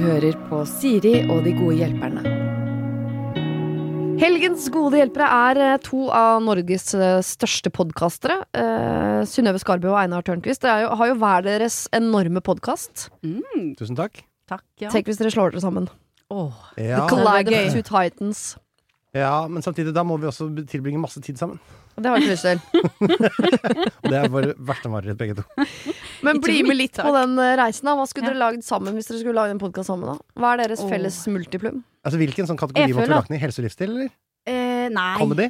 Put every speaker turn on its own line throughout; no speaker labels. hører på Siri og de gode hjelperne.
Helgens gode hjelpere er eh, to av Norges eh, største podkastere. Eh, Synnøve Skarbø og Einar Tørnquist. Det er jo, har jo hver deres enorme podkast.
Tusen takk.
Takk, ja.
Tenk hvis dere slår dere sammen.
Åh,
Ja,
The Collide
Det
of
er
Two Titans.
ja, men samtidig, da må vi også tilbringe masse tid sammen.
Det har jeg ikke lyst til.
Og det er våre verste mareritt, begge to.
Men
Ikke
bli med
mitt,
litt
takk.
på den eh, reisen. da Hva skulle
Ja.
dere lagd sammen hvis dere skulle lage en podkast sammen? da? Hva er deres
Åh.
felles multiplum?
Altså, Hvilken sånn kategori
Jeg
måtte vi
føler-
lagt ned? Helse og livsstil, eller?
eh, nei.
Comedy?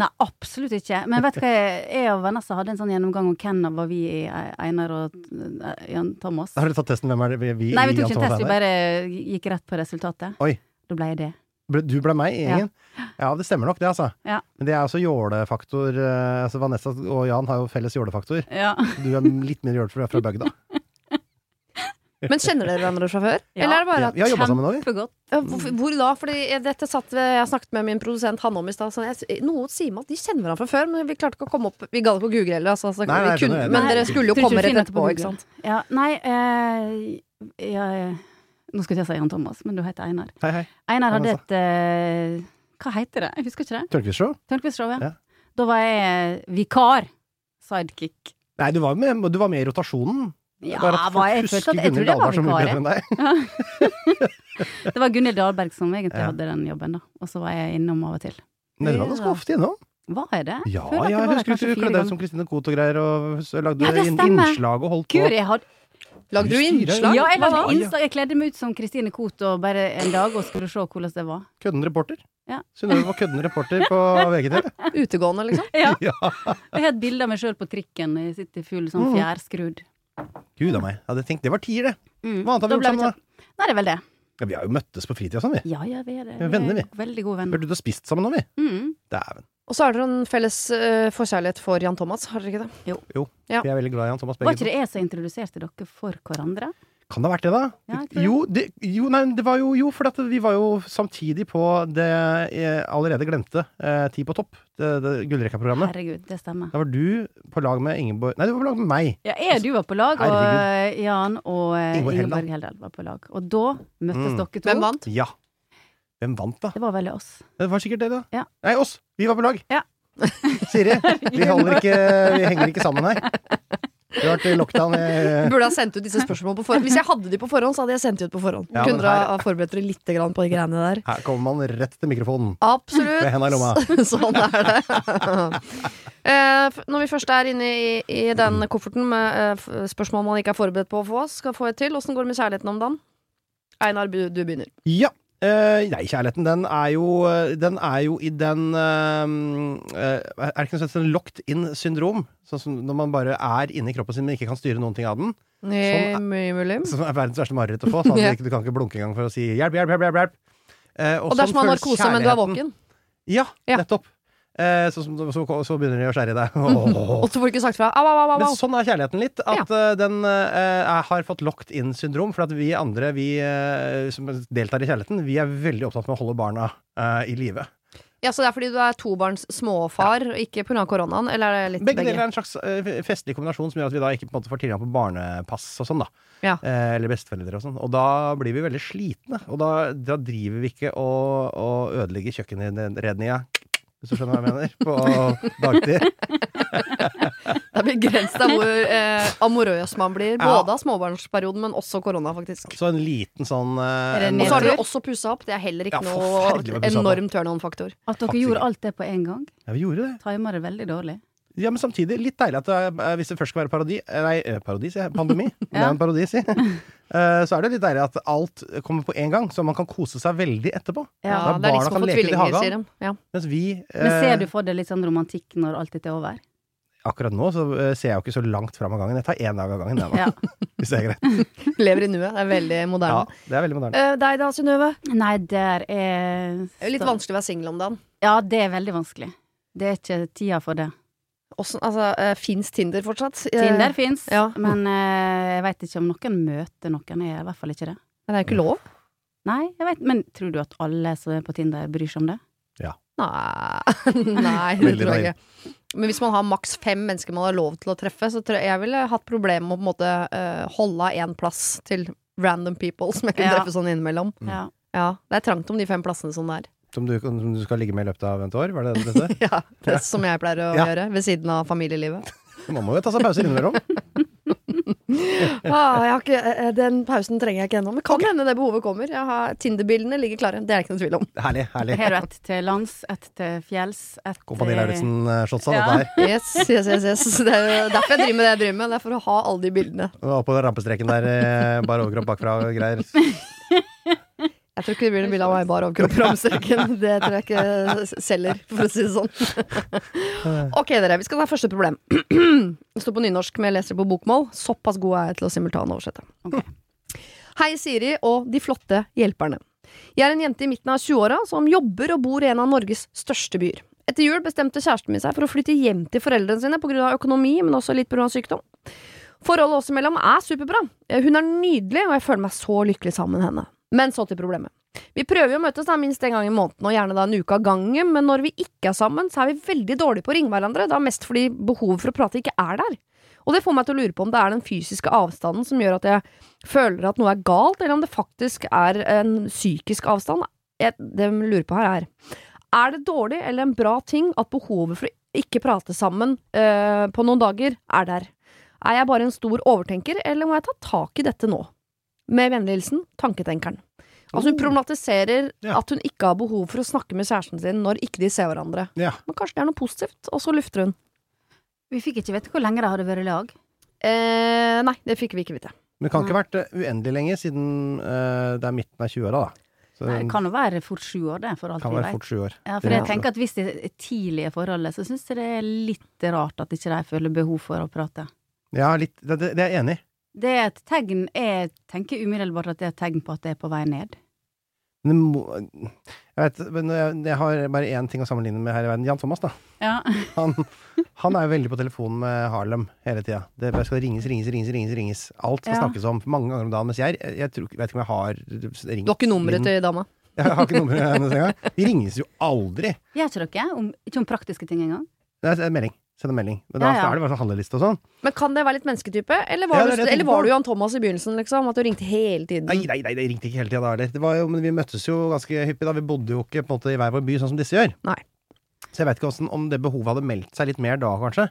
nei, absolutt ikke. Men vet du hva, jeg, jeg og Vanessa hadde en sånn gjennomgang om hvem av vi i E- Einar og eh, Jan Thomas.
Har dere tatt testen? Hvem er det vi, vi
Nei, vi
i
tok ikke en
Jan Thomas
test, vi
Einar?
bare gikk rett på resultatet.
Oi.
Da ble jeg det.
Ble- Du ble meg i
Ja.
gjengen? Ja. det stemmer nok det, altså.
Ja.
Men det er også jålefaktor. eh, Altså Vanessa og Jan har jo felles jålefaktor.
Ja.
Du er litt mer jålete for du er fra bygda.
Men kjenner dere hverandre fra før?
Ja.
Eller er det
Ja,
bare at
vi har jobba sammen nå, vi.
Kjempegodt.
Ja, hvorfor- Hvor da? Fordi jeg- dette satt ved, jeg snakket med min produsent Hanne om i stad. sånn, jeg- Noen sier meg at de kjenner hverandre fra før, men vi klarte ikke å komme opp Vi gadd ikke å google heller, altså. Så
Nei, nei,
vi kunne,
skjønner jeg.
men
Nei.
dere skulle jo
Tror
komme
ikke du
rett
finner det på
etterpå,
Google.
ikke sant?
Ja, nei eh, jeg, Nå skulle jeg si Jan Thomas, men du heter Einar.
Hei, hei.
Einar hadde
Vanessa.
et eh, Hva heter det? Jeg husker ikke det.
Tørnquist-show?
Tørnquist-show, ja.
Ja.
Da var jeg vikar. Sidekick.
Nei, du var, med, du var med i rotasjonen.
Ja,
Bare at folk
var jeg, følte
husker
at, jeg
Gunhild
trodde jeg var
Dahlberg så mye
vikar.
bedre
jeg.
enn deg.
Det var Gunhild Dahlberg som egentlig
Ja.
hadne den jobben, da. Og så var jeg innom av og til.
Men Dere var ganske
Ja.
ofte innom.
Var jeg det?
Ja,
Føler at
ja,
jeg
jeg
var der
husker
kanskje
du
fire
kledde deg ut
ganger.
som Kristin Koht og greier, og så lagde
Ja, det
inn-
stemmer.
innslag og holdt på.
Gud, jeg hadde
Lagde du
Du styrer jo.
innslag?
Ja, jeg
Hva
lagde
da?
ja.
innslag. Jeg kledde meg ut som Kristine Koht og bare en dag og skulle se hvordan det var.
Kødden reporter.
Ja.
Synnøve var kødden reporter på VGTV.
Utegående, liksom?
Ja,
Ja.
Jeg har et bilde av meg sjøl på trikken. Jeg sitter full sånn
Mm.
fjærskrudd.
Gud a meg. Jeg hadde tenkt, det var tier, det.
Mm.
Hva annet har
Da
vi gjort
ble
sammen, da?
ikke- Nei, det er vel det.
Ja, vi har jo møttes på fritida sånn, vi.
Ja, ja, vi er det.
Vi er venner, vi.
Veldig gode venner.
Burde du ha spist sammen nå, vi?
Mm.
Dæven.
Og så er dere en felles eh, forkjærlighet for Jan Thomas, har dere ikke det? Ja.
Vi er veldig glad i han Thomas
Var
begge
ikke
to.
det jeg som introduserte dere for hverandre?
Kan det ha vært det, da?
Ja, jeg tror det.
jo, det, jo, nei, det var jo, jo for at vi var jo samtidig på det eh, allerede glemte eh, Ti på topp, det, det gullrekka-programmet.
Herregud, det stemmer.
Da var du på lag med Ingeborg Nei, du var på lag med meg.
Ja, jeg du var på lag, og eh, Jan og eh,
Ingeborg Heldal.
Ingeborg Heldal var på lag. Og da møttes
Mm.
dere to.
Hvem vant?
Ja. Hvem vant, da?
Det var vel oss.
Det var sikkert det, da.
Ja.
Nei, oss! Vi var på lag.
Ja.
Siri, vi, holder ikke, vi henger ikke sammen her. Vi har vært i lockdown i
Jeg Burde ha sendt ut disse spørsmålene på forhånd. Hvis jeg hadde de på forhånd, så hadde jeg sendt de ut på forhånd.
Ja, men
Kunne dere
her-
ha forberedt dere litt grann på de greiene der?
Her kommer man rett til mikrofonen.
Absolutt.
Med hendene i lomma.
sånn er det. Eh, f- Når vi først er inne i, i den kofferten med eh, f- spørsmål man ikke er forberedt på å få, skal få et til. Åssen går det med kjærligheten om dagen? Einar, bu- du begynner.
Ja. Eh, nei, kjærligheten, den er jo, den er jo i den eh, eh, Er det ikke noe sånt som locked in-syndrom? Sånn som når man bare er inni kroppen sin, men ikke kan styre noen ting av den.
Eh,
er-
mye mulig.
Som er verdens verste mareritt å få. Sånn at
Ja.
du, ikke, du kan ikke blunke engang for å si 'hjelp, hjelp, hjelp'. hjelp, hjelp. Eh,
Og det er
sånn
som å ha
føles
narkose, men du er
kjærligheten.
våken.
Ja,
Ja. Mhm.
nettopp. Eh, så, så, så, så begynner de å skjære i deg. Åh.
Og så får du ikke sagt fra. Au, au, au, au,
Men
au.
sånn er kjærligheten litt. At eh, den eh, er- har fått locked in-syndrom. For at vi andre vi, eh, som deltar i kjærligheten, vi er veldig opptatt med å holde barna eh, i live.
Ja, så det er fordi du er tobarns småfar, og ikke pga. koronaen? Eller er det litt
Begge deler er en slags eh, festlig kombinasjon som gjør at vi da ikke på en måte får tilgang på barnepass og sånn, da.
Ja.
Eh, eller besteforeldre og sånn. Og da blir vi veldig slitne. Og da, da driver vi ikke og, og ødelegger kjøkkenredninga, hvis du skjønner hva jeg mener, på dagtid.
Det er begrensa hvor eh, amorøs man blir.
Ja.
Både av småbarnsperioden, men også korona, faktisk.
Så en liten sånn eh,
Er
en-
det
Og så har
Nedtur.
dere også pussa opp. Det er heller ikke
Ja, forferdelig
noe
med pussa opp.
enorm turn-on-faktor.
At dere
Faktisk
gjorde
ikke.
alt det på en gang,
Ja, vi gjorde det.
timer det veldig dårlig.
Ja, men samtidig litt deilig at det, er- hvis det først skal være parodi eh, Nei, eh, parodi, sier jeg. Pandemi. Det er
Ja.
jo en parodi, si. Eh, Så er det litt deilig at alt kommer på en gang, så man kan kose seg veldig etterpå.
Ja, det er
Da barna
de som har
kan
fått
leke ute i
tvillinger,
hagen.
sier de. Ja.
Mens vi
Men
eh,
ser du for deg litt sånn romantikk når alt dette er over?
Akkurat nå så eh, ser jeg jo ikke så langt fram av gangen. Jeg tar én dag av gangen, jeg, nå.
Ja.
Hvis det er greit.
Lever i nuet. Det er veldig
Ja,
moderne.
det er veldig moderne.
Eh, deg da, Synnøve?
Nei, der er
Det er jo Litt vanskelig å være singel om dagen.
Ja, det er veldig vanskelig. Det er ikke tida for det.
Åssen- altså, eh, Fins Tinder fortsatt? Eh,
Tinder fins,
ja.
men eh, jeg veit ikke om noen møter noen. Jeg er i hvert fall ikke det.
Men det er jo ikke lov.
Nei, jeg vet, men tror du at alle som er på Tinder, bryr seg om det?
Nei, Nei det
Veldig
tror jeg ikke. Men hvis man har maks fem mennesker man har lov til å treffe, så tror jeg jeg ville hatt problemer med å på en måte eh, holde av én plass til random people som jeg kunne
Ja.
treffe sånn innimellom.
Mm.
Ja.
Ja, Det er trangt om de fem plassene sånn der.
Som du, som du skal ligge med i løpet av et år? Var det det du mente?
Ja, det er Som jeg pleier å
Ja.
gjøre ved siden av familielivet.
Man må jo ta seg pauser innimellom.
Ah, jeg har ikke, eh, den pausen trenger jeg ikke ennå, men kan hende det behovet kommer. Jeg har, Tinder-bildene ligger klare, det er jeg ikke noe tvil om.
Herlig. herlig
Har du ett til lands, ett til fjells, ett
Kompani eh,
til-
Lauritzen-shotsa,
Ja.
dette her.
Yes, yes, yes, yes. Det er jo derfor jeg driver med det jeg driver med. Det er for å ha alle de bildene.
Og Oppå rampestreken der, eh, bare overkropp bakfra og greier.
Jeg tror ikke det blir noe bilde av meg bare overkropp og ramstreken. Det tror jeg ikke s- selger, for å si det sånn. Ok, dere. Vi skal ta første problem. Det står på nynorsk, men jeg leser det på bokmål. Såpass god er jeg til å simultanoversette.
Ok.
Hei, Siri og de flotte hjelperne. Jeg er en jente i midten av 20-åra som jobber og bor i en av Norges største byer. Etter jul bestemte kjæresten min seg for å flytte hjem til foreldrene sine pga. økonomi, men også litt pga. sykdom. Forholdet oss imellom er superbra. Eh, Hun er nydelig, og jeg føler meg så lykkelig sammen med henne. Men så til problemet. Vi prøver jo å møtes da minst en gang i måneden, og gjerne da en uke av gangen, men når vi ikke er sammen, så er vi veldig dårlige på å ringe hverandre, da mest fordi behovet for å prate ikke er der. Og det får meg til å lure på om det er den fysiske avstanden som gjør at jeg føler at noe er galt, eller om det faktisk er en psykisk avstand. Jeg, det jeg lurer på her er Er det dårlig eller en bra ting at behovet for å ikke prate sammen eh, på noen dager er der? Er jeg bare en stor overtenker, eller må jeg ta tak i dette nå? Med vennlig hilsen Tanketenkeren. Altså Hun problematiserer
Oh. Ja.
at hun ikke har behov for å snakke med kjæresten sin når ikke de ser hverandre.
Ja.
Men kanskje det er noe positivt, og så lufter hun.
Vi fikk ikke vite hvor lenge de hadde vært i lag.
Eh, nei, det fikk vi ikke vite.
Men det kan
Mm.
ikke ha vært eh, uendelig lenge siden eh, det er midten av 20-åra, da. Så
Det
det
kan jo være fort sju år, det, for alt
Eh. kan
vi
være
vet.
fort sju år.
Ja, for
Ja.
jeg tenker at Hvis det er tidlige forholdet, så syns jeg det er litt rart at ikke de føler behov for å prate.
Ja, litt, det, det det er jeg enig i.
Det er et tegn Jeg tenker umiddelbart at det er et tegn på at det er på vei ned.
Men det må- Jeg, vet, men jeg, jeg har bare én ting å sammenligne med her i verden. Jan Thomas, da.
Ja.
Han, han er jo veldig på telefonen med Harlem hele tida. Det bare skal ringes, ringes, ringes. ringes, ringes. Alt skal
Ja.
snakkes om mange ganger om dagen. Mens jeg, jeg, jeg tror, ikke- vet ikke om jeg har ringt
Du har ikke
Mm.
nummeret til dama?
Jeg har ikke nummeret hennes engang. De ringes jo aldri.
Gjør ikke dere? Om, ikke om praktiske ting engang?
Det er en melding. Send en melding. Men da
Ja, ja.
er det bare sånn handleliste og sånn.
Men kan det være litt mennesketype? Eller
Ja,
var,
det er
du,
det jeg
eller
tenker på.
var du Johan Thomas i begynnelsen, liksom? At du ringte hele tiden?
Nei, nei, nei, det ringte ikke hele tida da heller. Det var jo- Men vi møttes jo ganske hyppig da. Vi bodde jo ikke på en måte i hver vår by, sånn som disse gjør.
Nei.
Så jeg veit ikke hvordan, om det behovet hadde meldt seg litt mer da, kanskje.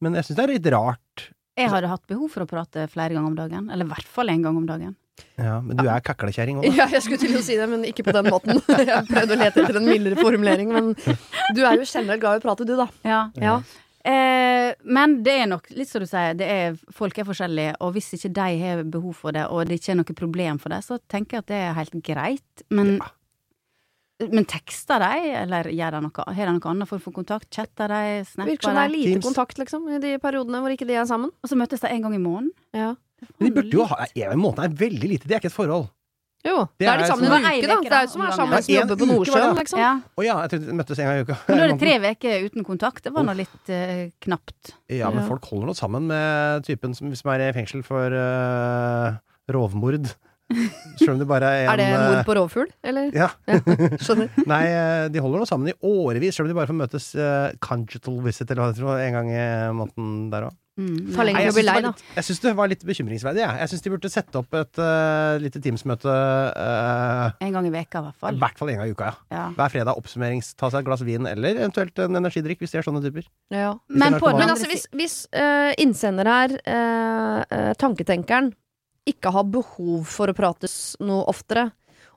Men jeg syns det er litt rart.
Jeg hadde hatt behov for å prate flere ganger om dagen. Eller i hvert fall én gang om dagen.
Ja, Men du er kaklekjerring òg, da.
Ja, jeg skulle til å si det, men ikke på den måten. Jeg prøvde å lete etter en mildere formulering, men du er jo generelt glad i å prate, du, da.
Ja.
Ja.
Eh, men det er nok litt som du sier, det er, folk er forskjellige, og hvis ikke de har behov for det, og det ikke er noe problem for det, så tenker jeg at det er helt greit. Men, men tekster de, eller gjør de noe, har de noe annet form for kontakt? Chatter de,
Virker som det
snapper
er
de?
lite
Teams.
kontakt, liksom, i de periodene hvor ikke de er sammen.
Og så møtes de en gang i måneden?
Ja.
Men de burde jo ha En måned er veldig lite. Det er ikke et forhold.
Jo.
Det
Da er
er
de sammen
som-
en uke, da. Det er jo som å være sammen som
Ja, en
jobber på
uke var det,
Nordsjøen,
ja.
liksom.
sånn. Ja.
Å ja, jeg trodde de møttes en gang i uka.
Men da er det tre uker uten kontakt. Det var nå litt eh, knapt.
Ja, men
Ja.
folk holder noe sammen med typen som, som er i fengsel for eh, rovmord. Selv om det bare er en
Er det
eh,
mord på rovfugl, eller?
Ja.
Skjønner.
Nei, eh, de holder noe sammen i årevis, selv om de bare får møtes eh, conjugal visit eller hva det heter, en gang i eh, måneden der òg.
Mm,
Ta
nei.
lenger å bli lei, da.
Jeg syns det var litt bekymringsverdig, jeg. Jeg syns de burde sette opp et eh, lite Teams-møte eh,
En gang i veka i hvert
i
fall.
hvert fall en gang i uka, ja.
Ja.
Hver fredag oppsummerings. Ta seg et glass vin, eller eventuelt en energidrikk, hvis de er sånne typer.
Ja.
Men på
Men
den
Men
andre
altså, hvis, hvis eh, innsender her, eh, eh, tanketenkeren, ikke har behov for å prates noe oftere,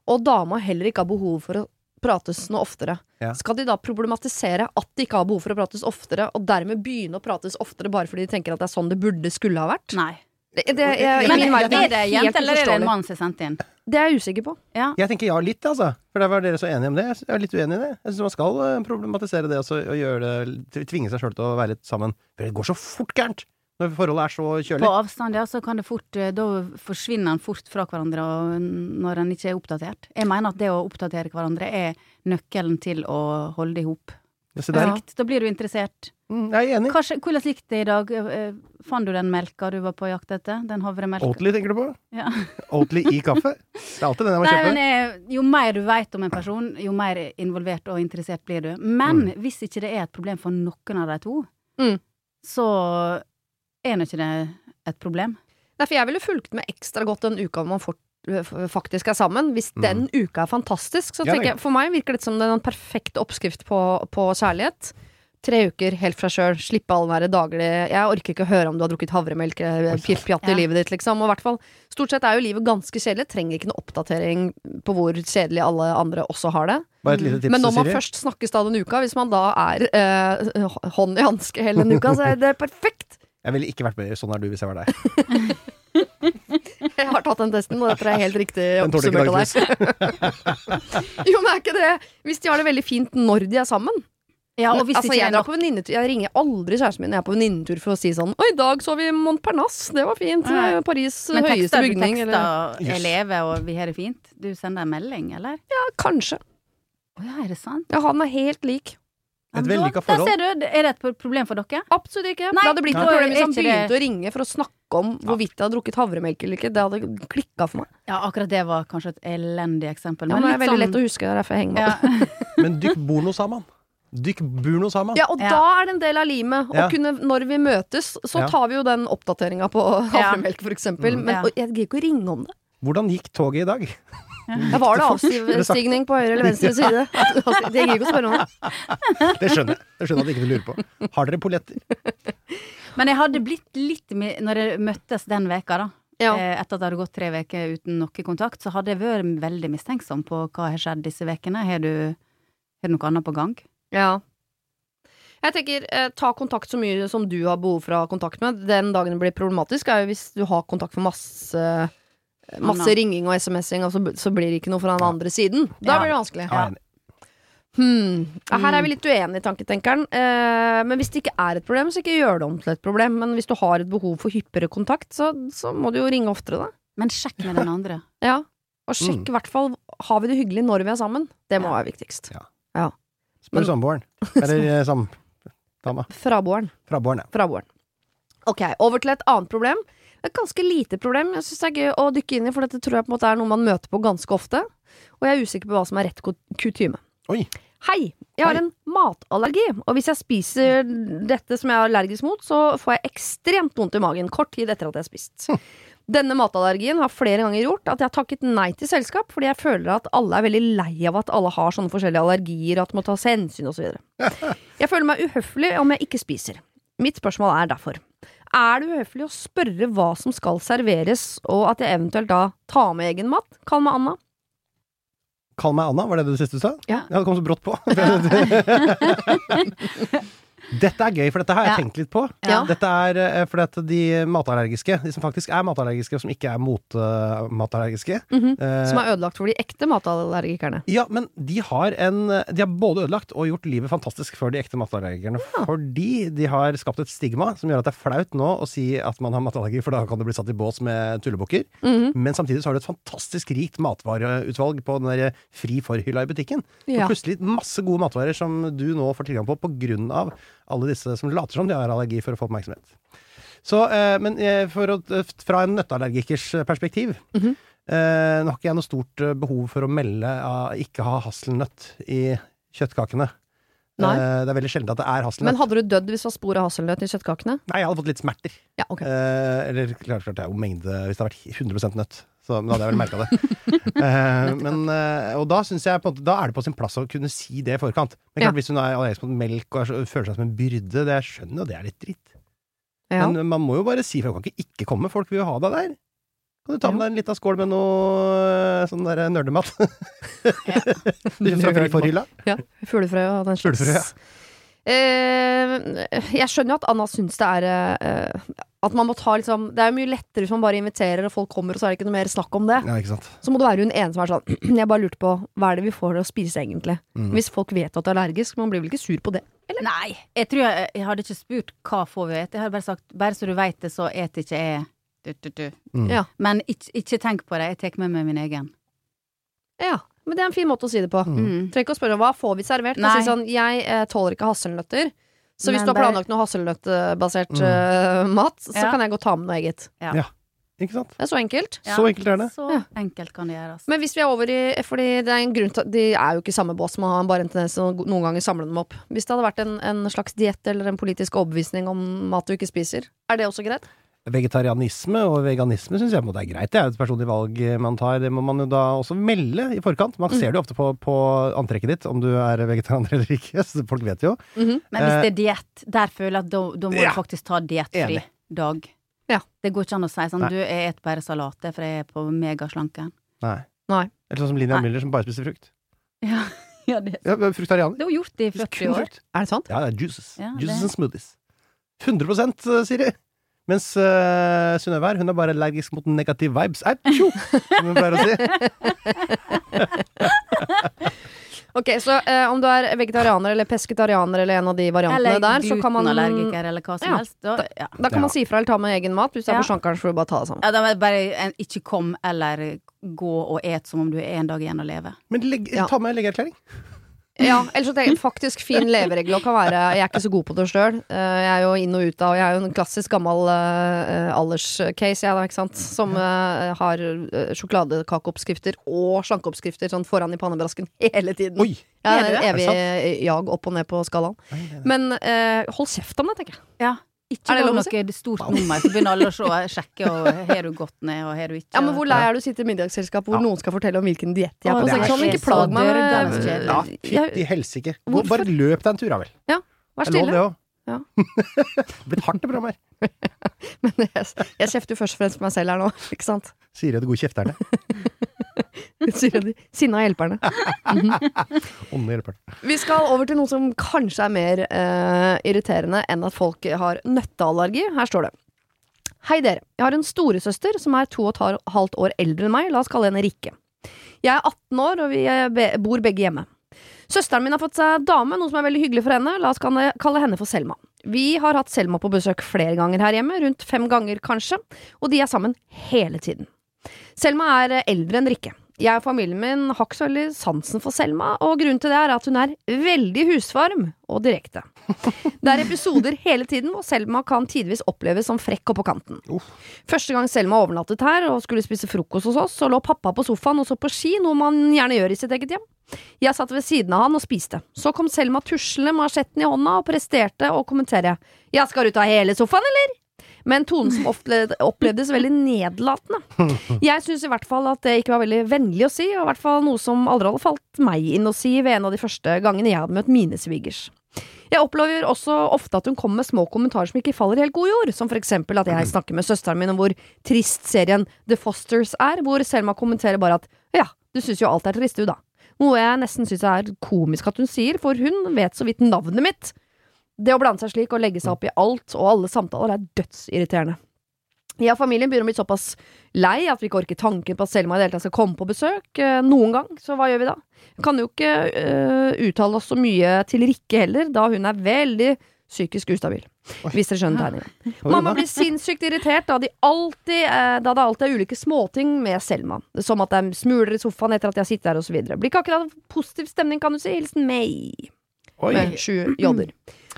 og dama heller ikke har behov for å prates noe oftere,
Ja.
skal de da problematisere at de ikke har behov for å prates oftere, og dermed begynne å prates oftere bare fordi de tenker at det er sånn det burde skulle ha vært?
Nei.
Det, det, jeg, I
Men
min
er
verden
det
er det
en
helt
jente eller er det en
uforståelig.
mann som er sendt inn?
Det er jeg usikker på.
Ja.
Jeg tenker ja litt, altså. For der var dere så enige om det. Jeg sy- Jeg er litt uenig i det. Jeg syns man skal eh, problematisere det også, og gjøre det, tvinge seg sjøl til å være litt sammen. For det går så fort gærent når forholdet er så
På
kjølig.
avstand, ja, så kan det fort eh, Da forsvinner en fort fra hverandre og n- når en ikke er oppdatert. Jeg mener at det å oppdatere hverandre er nøkkelen til å holde det i hop.
Se der.
Ja.
Da blir du interessert.
Mm, jeg er enig.
Hva skje- Hvordan gikk det i dag? Eh, eh, Fant du den melka du var på jakt etter? Den havremelka?
Oatly tenker du på?
Ja.
Oatly i kaffe? Det er alltid den jeg må
Nei, men
kjøpe.
eh, jo mer du veit om en person, jo mer involvert og interessert blir du. Men
Mm.
hvis ikke det er et problem for noen av de to,
Mm.
så er nå ikke det et problem.
Nei, for jeg ville fulgt med ekstra godt den uka man fort, f- faktisk er sammen. Hvis den uka er fantastisk, så
Mm. Ja,
tenker jeg For meg virker det som den perfekte oppskrift på, på kjærlighet. Tre uker helt fra sjøl, slippe all den der daglig Jeg orker ikke å høre om du har drukket havremelk eller pjatt pjatt
Ja.
i livet ditt, liksom. Og i hvert fall, stort sett er jo livet ganske kjedelig. Trenger ikke noe oppdatering på hvor kjedelig alle andre også har det.
Bare et lite tips,
Men når man
Siri.
først snakkes da den uka, hvis man da er eh, hånd i hanske hele den uka, så er det perfekt!
Jeg ville ikke vært med i Sånn er du hvis jeg var deg.
Jeg har tatt den testen, og dette er helt riktig
Den tålte ikke
oppsummert av deg.
dagslys.
Jo, men er ikke det Hvis de har det veldig fint når de er sammen
Ja, og hvis
altså,
ikke
jeg,
jeg
drar
nok
på venninnetur- jeg ringer aldri kjæresten min når jeg er på venninnetur for å si sånn Å, i dag så vi Montparnasse, det var fint. Det er jo Paris
Men
høyeste
tekster du
bygning.
tekster
Eller,
'Jeg lever og vi har det fint'? Du sender en melding, eller?
ja, kanskje.
Å ja, er det sant?
Ja, han er helt lik.
Et
Ja,
vellykka
da-
forhold.
Der ser du. Er det et pro- problem for dere?
Absolutt ikke.
Nei,
det hadde blitt
nei.
et problem hvis
Er
han
ikke
begynte
det-
å ringe for å snakke om hvorvidt jeg hadde drukket havremelk eller ikke. Det hadde klikka for meg.
Ja, akkurat det var kanskje et elendig eksempel.
Ja, men det er
litt
veldig
sånn-
lett å huske, det er derfor jeg henger meg opp.
ja.
Men dykk burno sammen. Dykk burno sammen.
Ja, og
Ja.
da er det en del av limet. Og
Ja.
kunne, når vi møtes, så
Ja.
tar vi jo den oppdateringa på havremelk, for eksempel. Men
Mm. Ja.
og jeg gidder ikke å ringe om det.
Hvordan gikk toget i dag?
Ja, var det
Ville sagt.
avstigning på høyre eller venstre side? Altså, det gir ikke å spørre om det.
Det skjønner jeg. Det skjønner jeg at ikke du lurer på. Har dere polletter?
Men jeg hadde blitt litt mi- Når jeg møttes den veka, da.
Ja.
eh, Etter at det hadde gått tre veker uten noe kontakt, så hadde jeg vært veldig mistenksom på hva har skjedd disse vekene. Har du, har du noe annet på gang?
Ja. Jeg tenker, eh, Ta kontakt så mye som du har behov for å ha kontakt med. Den dagen det blir problematisk, er jo hvis du har kontakt for masse Masse
Anna.
ringing og SMS-ing, og så, så blir det ikke noe fra den
Ja.
andre siden. Da
Ja.
blir det vanskelig.
Ja, jeg er enig.
Hmm. Ja, Her er vi litt uenige, tanketenkeren. Eh, men hvis det ikke er et problem, så ikke gjør det om til et problem. Men hvis du har et behov for hyppigere kontakt, så, så må du jo ringe oftere, da.
Men sjekk med den andre.
Ja, og sjekk i hvert fall Har vi det hyggelig når vi er sammen? Det må
Ja.
være viktigst.
Ja.
Ja. Men-
Spør samboeren. Eller eh, samdama.
Fraboeren.
Fraboeren, ja.
Fraboeren. Ok, over til et annet problem. Et ganske lite problem. Jeg synes det er gøy å dykke inn i, for dette tror jeg på en måte er noe man møter på ganske ofte. Og jeg er usikker på hva som er rett kut- kutyme.
Oi.
Hei! Jeg har
Hei.
en matallergi, og hvis jeg spiser dette som jeg er allergisk mot, så får jeg ekstremt vondt i magen kort tid etter at jeg har spist.
Hm.
Denne matallergien har flere ganger gjort at jeg har takket nei til selskap, fordi jeg føler at alle er veldig lei av at alle har sånne forskjellige allergier, og at det må tas hensyn osv. Jeg føler meg uhøflig om jeg ikke spiser. Mitt spørsmål er derfor. Er det uhøflig å spørre hva som skal serveres, og at jeg eventuelt da tar med egen mat? Kall meg Anna.
Kall meg Anna, var det det du siste du sa?
Ja.
det kom så brått på. dette er gøy, for dette har jeg
Ja.
tenkt litt på.
Ja.
Dette er eh, fordi at de matallergiske, de som faktisk er matallergiske, og som ikke er motmatallergiske
Mhm.
eh,
Som er ødelagt for de ekte matallergikerne.
Ja, men de har, en, de har både ødelagt og gjort livet fantastisk for de ekte matallergikerne. Fordi de har skapt et stigma som gjør at det er flaut nå å si at man har matallergi, for da kan du bli satt i bås med tullebukker.
Mhm.
Men samtidig så har du et fantastisk rikt matvareutvalg på den der fri for-hylla i butikken.
Ja.
Og plutselig masse gode matvarer som du nå får tilgang på på grunn av alle disse som later som de har allergi for å få oppmerksomhet. Så, eh, men eh, for å, fra en nøtteallergikers perspektiv
Mhm.
Eh, nå har ikke jeg noe stort eh, behov for å melde av ikke ha hasselnøtt i kjøttkakene.
Nei.
Eh, det er veldig sjelden at det er hasselnøtt.
Men hadde du dødd hvis det var spor av hasselnøtt i kjøttkakene?
Nei, jeg hadde fått litt smerter.
Ja, ok.
Eh, eller klart, klart det er jo mengde Hvis det hadde vært 100 nøtt, så men da hadde jeg vel merka det. Eh, men, eh, og da syns jeg på en måte, Da er det på sin plass å kunne si det i forkant. Men
Ja.
klart, hvis hun er allergisk mot melk og er så, føler seg som en byrde, det jeg skjønner jo det er litt dritt.
Ja.
Men man må jo bare si, for jeg kan ikke ikke komme. Folk vil jo ha deg der. Kan du ta med deg en liten skål med noe eh, sånn der nerdemat? Du kjøpte fra Friforhylla?
Ja, Fuglefrø og den slags.
Fuglefrø, ja.
Eh, jeg skjønner jo at Anna syns det er eh, At man må ta liksom Det er jo mye lettere hvis man bare inviterer og folk kommer, og så er det ikke noe mer snakk om det.
Ja, ikke sant.
Så må det være hun ene som er sånn Jeg bare lurte på hva er det vi får å spise, egentlig?
Mm.
Hvis folk vet at du er allergisk, man blir vel ikke sur på det?
Nei, jeg tror jeg, jeg hadde ikke spurt hva får vi å ete. Jeg hadde bare sagt bare så du veit det, så et ikke jeg du, du, du.
Mm.
Ja.
Men ikke, ikke tenk på det, jeg tar med meg min egen.
Ja, men det er en fin måte å si det på.
Mhm.
Mm.
Trenger ikke å spørre hva får vi servert.
Nei.
Nei. Si sånn, jeg eh, tåler ikke hasselnøtter. Så hvis
Men
du har
bare-
planlagt noe hasselnøttbasert
Mm.
eh, mat, så
Ja.
kan jeg gå og ta med noe eget.
Ikke sant?
Det er så enkelt.
Ja.
Så enkelt er det.
Så
Ja.
enkelt kan det gjøres.
Men hvis vi er over i Fordi det er en grunn til at de er jo ikke i samme bås, man har bare en tendens til å noen ganger samle dem opp. Hvis det hadde vært en, en slags diett eller en politisk overbevisning om mat du ikke spiser, er det også greit?
Vegetarianisme og veganisme syns jeg på en måte er greit. Det er jo et personlig valg man tar. Det må man jo da også melde i forkant. Man ser det jo ofte på, på antrekket ditt om du er vegetarianer eller ikke. Så folk vet jo.
Men hvis det er diett, der føler jeg at da, da må
Eh, Ja.
du faktisk ta diettfri
Enig.
dag.
Ja.
Det går ikke an å si sånn
Nei.
du, jeg et bare salat, det er for jeg er på megaslanken.
Nei.
Nei.
Eller sånn som Linnea
Nei.
Müller, som bare spiser frukt.
Ja, ja det,
Ja, fruktarianer.
det har hun gjort det i 40
Kun
år.
frukt.
Er det sant?
Ja, det er juices.
Ja,
juices
det-
and smoothies. 100 Siri. Mens uh, Synnøve her, hun er bare allergisk mot negative vibes. Ei, tjo, som hun pleier å si.
Ok, Så eh, om du er vegetarianer eller pesketarianer eller en av de variantene
Eller
der, så kan man
glutenallergiker, eller hva som
Ja,
helst. Da, ja.
Da kan
Ja.
man si fra eller ta med egen mat. Hvis du er
Ja.
på sjankeren, så får du bare ta det sammen.
ja, da må jeg bare en, ikke kom eller gå og et som om du er en dag igjen å leve.
Men legg,
Ja.
ta med en legeerklæring.
Ja, ellers så tenker jeg faktisk fin leveregel og kan være Jeg er ikke så god på det sjøl. Jeg er jo inn og ut av Jeg er jo en klassisk gammel eh, alderscase, jeg da, ikke sant. Som eh, har eh, sjokoladekakeoppskrifter og slankeoppskrifter sånn foran i pannebrasken hele tiden.
Oi!
Jeg
Er
er
du
en
det?
evig
Er
eh, jag opp og ned på skalaen. Men eh, hold kjeft om det, tenker jeg.
Ja. Ikke
Er det
lag
lov å
noe stort nummer, så begynner alle å se, sjekke og har du gått ned, og har du ikke
Ja, men Hvor lei er du å sitte i middagsselskap hvor
Ja.
noen skal fortelle om hvilken diett de er
Å,
på?
det
Så
er
Sånn,
så
ikke plag meg med
dørgende kjedelig.
Ja,
Jeg-
fytti helsike. Gå-
Hvorfor?
Bare løp deg en tur, da vel.
Vær
Det er lov, det
stille.
òg.
Ja.
Blitt hardt, det programmet her.
Men jeg, jeg kjefter jo først og fremst på meg selv her nå, ikke sant.
Siri og de gode kjefterne.
Sinna hjelperne.
Ånden hjelper.
Vi skal over til noe som kanskje er mer eh, irriterende enn at folk har nøtteallergi. Her står det. Hei dere. Jeg har en storesøster som er to og et halvt år eldre enn meg. La oss kalle henne Rikke. Jeg er 18 år, og vi eh, be bor begge hjemme. Søsteren min har fått seg dame, noe som er veldig hyggelig for henne. La oss kalle kalle henne for Selma. Vi har hatt Selma på besøk flere ganger her hjemme, rundt fem ganger kanskje, og de er sammen hele tiden. Selma er eh, eldre enn Rikke. Jeg og familien min har ikke så veldig sansen for Selma, og grunnen til det er at hun er veldig husvarm og direkte. Det er episoder hele tiden hvor Selma kan tidvis oppleves som frekk og på kanten.
Uff.
Første gang Selma overnattet her og skulle spise frokost hos oss, så lå pappa på sofaen og så på ski, noe man gjerne gjør i sitt eget hjem. Jeg satt ved siden av han og spiste. Så kom Selma tuslende med asjetten i hånda og presterte å kommentere. Jeg skal ut av hele sofaen, eller? Med en tone som ofte opplevdes veldig nedlatende. Jeg syns i hvert fall at det ikke var veldig vennlig å si, og i hvert fall noe som aldri hadde falt meg inn å si ved en av de første gangene jeg hadde møtt mine svigers. Jeg opplever også ofte at hun kommer med små kommentarer som ikke faller i helt god jord, som for eksempel at jeg snakker med søsteren min om hvor trist serien The Fosters er, hvor Selma kommenterer bare at ja, du syns jo alt er trist du, da. Noe jeg nesten syns er komisk at hun sier, for hun vet så vidt navnet mitt. Det å blande seg slik og legge seg opp i alt og alle samtaler er dødsirriterende. Jeg og familien begynner å bli såpass lei at vi ikke orker tanken på at Selma i det hele tatt skal komme på besøk eh, noen gang, så hva gjør vi da? Vi kan jo ikke eh, uttale oss så mye til Rikke heller, da hun er veldig psykisk ustabil.
Oi.
Hvis dere skjønner tegningen.
Hva
Mamma
gjorde
blir sinnssykt irritert da, de alltid, eh, da det alltid er ulike småting med Selma. Som at de smuler i sofaen etter at jeg sitter her, osv. Blir ikke akkurat positiv stemning, kan du si. Hilsen meg.
Oi.
Med sju jodder.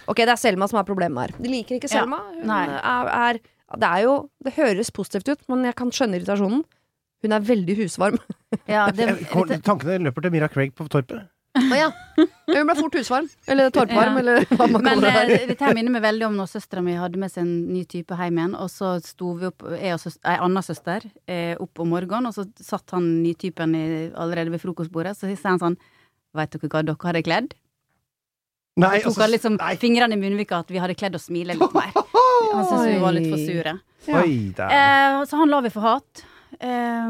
Ok, det er Selma som er problemet her. De liker ikke
Ja,
Selma. Hun
nei.
er, er, det er jo Det høres positivt ut, men jeg kan skjønne irritasjonen. Hun er veldig husvarm.
Ja, det,
Jeg- Eh, kom- Tankene løper til Mira Craig på torpet.
Hun ble fort husvarm. Eller torpvarm,
Ja.
eller hva man
Men
kaller det.
eh, dette her minner meg veldig om når søstera mi hadde med seg en ny type hjem igjen. Og så sto vi opp, jeg og søs- ei anna søster, eh, opp om morgenen, og så satt han nytypen i, allerede ved frokostbordet. Så sier han sånn Veit dere hva dere hadde kledd?
Nei, altså,
Jeg tok han liksom fingrene i munnvika at vi hadde kledd å smile litt mer. Han syntes vi var litt for sure.
Ja.
Oi, da.
Eh, så han la vi for hat. Eh,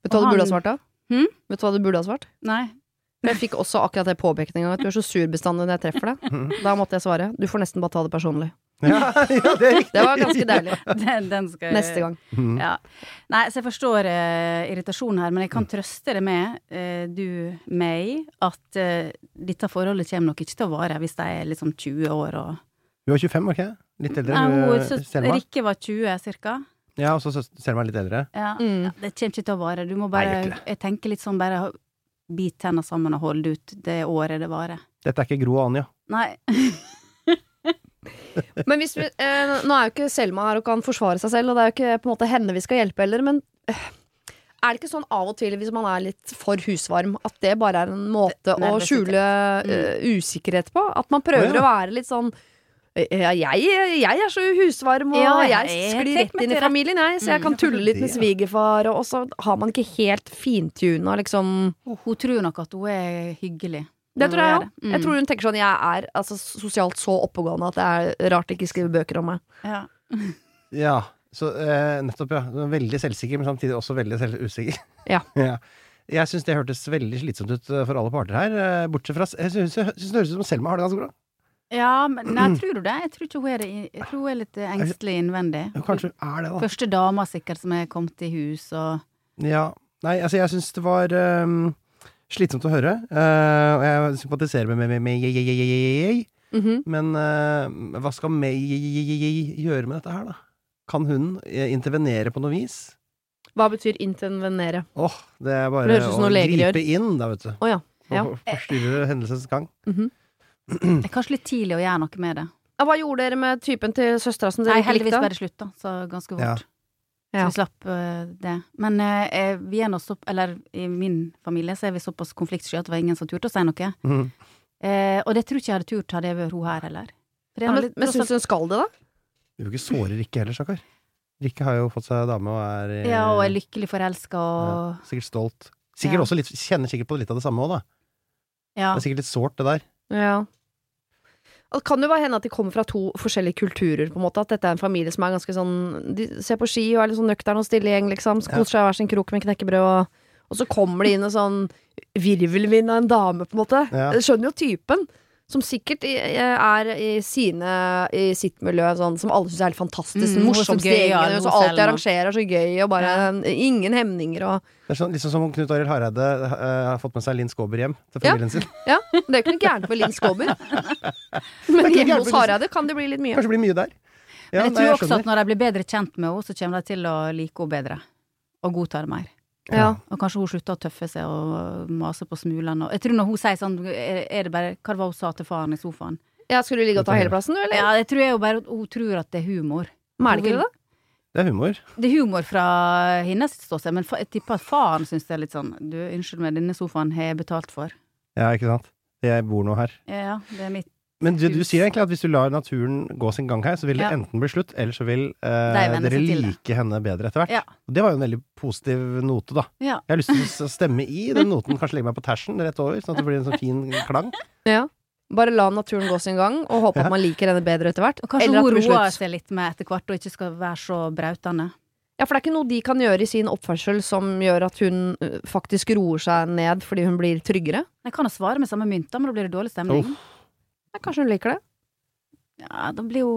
Vet du hva du burde ha
han-
svart, da?
Hm?
Vet du hva du burde ha svart?
nei.
For Jeg fikk også akkurat det påpekninga at du er så sur bestandig når jeg treffer deg. Da måtte jeg svare. Du får nesten bare ta det personlig.
Ja, ja, det er riktig.
Det var ganske deilig.
Den, den skal jeg-
Neste gang.
Mm.
Ja. Nei, så jeg forstår eh, irritasjonen her, men jeg kan
Mm.
trøste deg med, eh, du, meg, at eh, dette forholdet kommer nok ikke til å vare hvis de er liksom 20 år og
Du var 25, var ikke jeg? Litt eldre.
Nei, hun,
eh,
søs-
Selma.
Rikke var 20 ca.
Ja, og så søs- Selma er litt eldre.
Ja.
Mm.
Ja, det kommer ikke til å vare. Du må
Nei,
bare
gjør ikke
Jeg tenker litt sånn bare bit tenna sammen og hold ut det året det varer.
Dette er ikke Gro og Anja.
Nei.
Men hvis vi, eh, Nå er jo ikke Selma her og kan forsvare seg selv, og det er jo ikke på en måte henne vi skal hjelpe heller, men øh, er det ikke sånn av og til, hvis man er litt for husvarm, at det bare er en måte å
Nervøsitet.
skjule eh, usikkerhet på? At man prøver
Å, ja.
å være litt sånn Ja, jeg, jeg er så husvarm, og
Ja, ja,
jeg
jeg
sklir
tek
rett
meg
inn i
til rett.
familien, jeg.
Mm.
Så jeg kan tulle litt med svigerfar, og og så har man ikke helt fintuna, liksom.
Hun tror nok at hun er hyggelig.
Det tror jeg
Hun
òg.
er det. Mm.
Jeg tror hun tenker sånn Jeg er altså, sosialt så oppegående at det er rart de ikke skriver bøker om meg.
ja.
Ja, så eh, nettopp, ja. Du er Veldig selvsikker, men samtidig også veldig selv usikker.
Ja.
Jeg syns det hørtes veldig slitsomt ut eh, for alle parter her. eh, Bortsett fra Jeg syns det høres ut som Selma har det ganske bra.
Ja, men nei, tror du det? Jeg tror ikke hun er det. i- Jeg tror hun er litt eh, engstelig innvendig.
Jo, Kanskje hun er det, da.
Første dama sikkert som er kommet i hus og
Ja. Nei, altså, jeg syns det var eh, slitsomt å høre. eh, og jeg sympatiserer med, med, med, med jeg, jeg, jeg, jeg, jeg, jeg.
Mm-hmm.
Mhm.
Men eh, hva skal meg jeg, jeg, jeg, jeg, gjøre med dette her, da? Kan hun eh, intervenere på noe vis?
Hva betyr intervenere?
Åh, det er bare
Det høres ut som
å
noe leger
gripe
gjør.
inn, da, vet du.
Å ja. Ja.
Og Forstyrre hendelsens gang. Mm.
Det er kanskje litt tidlig å gjøre noe med det.
Ja, Hva gjorde dere med typen til søstera som dere
Nei,
ikke
heldigvis
likte?
ble det slutt, da. Så ganske fort.
Ja.
Ja.
Så vi slapp eh, det. Men eh, eh, vi er nå så Eller i min familie så er vi såpass konfliktsky at det var ingen som turte å si noe.
Mhm.
Eh, og det tror ikke jeg hadde turt hadde jeg vært hun her heller. For det er
Ja,
nå
men
litt-
men
tross alt-
syns hun skal det, da?
Du vil ikke såre Rikke heller, stakkar. Rikke har jo fått seg dame og er eh,
ja, og er lykkelig forelska og
sikkert stolt. Sikkert
Ja.
også litt, Kjenner sikkert på litt av det samme òg, da.
Ja.
Det er sikkert litt sårt, det der.
Ja. Og det kan jo bare hende at de kommer fra to forskjellige kulturer, på en måte. At dette er en familie som er ganske sånn De ser på ski og er litt sånn nøktern og stille gjeng, liksom. Så
Ja.
Koser seg i hver sin krok med knekkebrød og Og så kommer det inn en sånn virvelvind av en dame, på en måte.
Ja.
Jeg skjønner jo typen. Som sikkert i- er i sine I sitt miljø sånn som alle syns er helt fantastisk.
Mm,
Den
hun er så
morsomste
gøy, ja,
gjengen,
hun
som
selv
alltid
nå.
arrangerer, så gøy, og bare ingen hemninger og
Det er sånn, liksom som om Knut Arild Hareide eh, har fått med seg Linn Skåber hjem til
Ja.
familien sin.
Ja, det er jo ikke noe gærent med Linn Skåber. Men
noe
hjemme
gærent
hos
med-
Hareide kan det bli litt mye.
Kanskje det blir mye der. Ja,
Men jeg
nei,
tror også
skjønner.
at når de blir bedre kjent med henne, så kommer de til å like henne bedre. Og godta det mer.
Ja.
Og kanskje hun slutter å tøffe seg og mase på smulene. og- Jeg tror når hun sier sånn, er er det bare Hva var det hun sa til faren i sofaen?
Ja, Skal du ligge og ta hele plassen, du, eller?
Ja, jeg tror jeg jo bare at hun tror at det er humor.
Men er det ikke det, da?
Det er humor.
Det er humor fra hennes ståsted, men fa- jeg tipper at faren syns det er litt sånn Du, unnskyld meg, denne sofaen har jeg betalt for.
Ja, ikke sant. Jeg bor nå her.
Ja, det er mitt.
Men du, du
Hus.
sier egentlig at hvis du lar naturen gå sin gang her, så vil det
Ja.
enten bli slutt, eller så vil
Deg
eh,
venne
dere
seg til det.
like henne bedre etter hvert.
Ja.
Og det var jo en veldig positiv note, da.
Ja.
Jeg har lyst til å s- stemme i den noten, kanskje legge meg på tersen rett over, sånn at det blir en sånn fin klang.
Ja. Bare la naturen gå sin gang, og håpe
Ja.
at man liker henne bedre etter hvert.
Og kanskje
Eller at
hun
det blir
roer
slutt.
seg litt med etter hvert, og ikke skal være så brautende.
Ja, for det er ikke noe de kan gjøre i sin oppførsel som gjør at hun ø, faktisk roer seg ned fordi hun blir tryggere.
Jeg kan jo svare med samme mynt, da, men da blir det dårlig stemning.
Ja, kanskje hun liker det.
Ja, da blir jo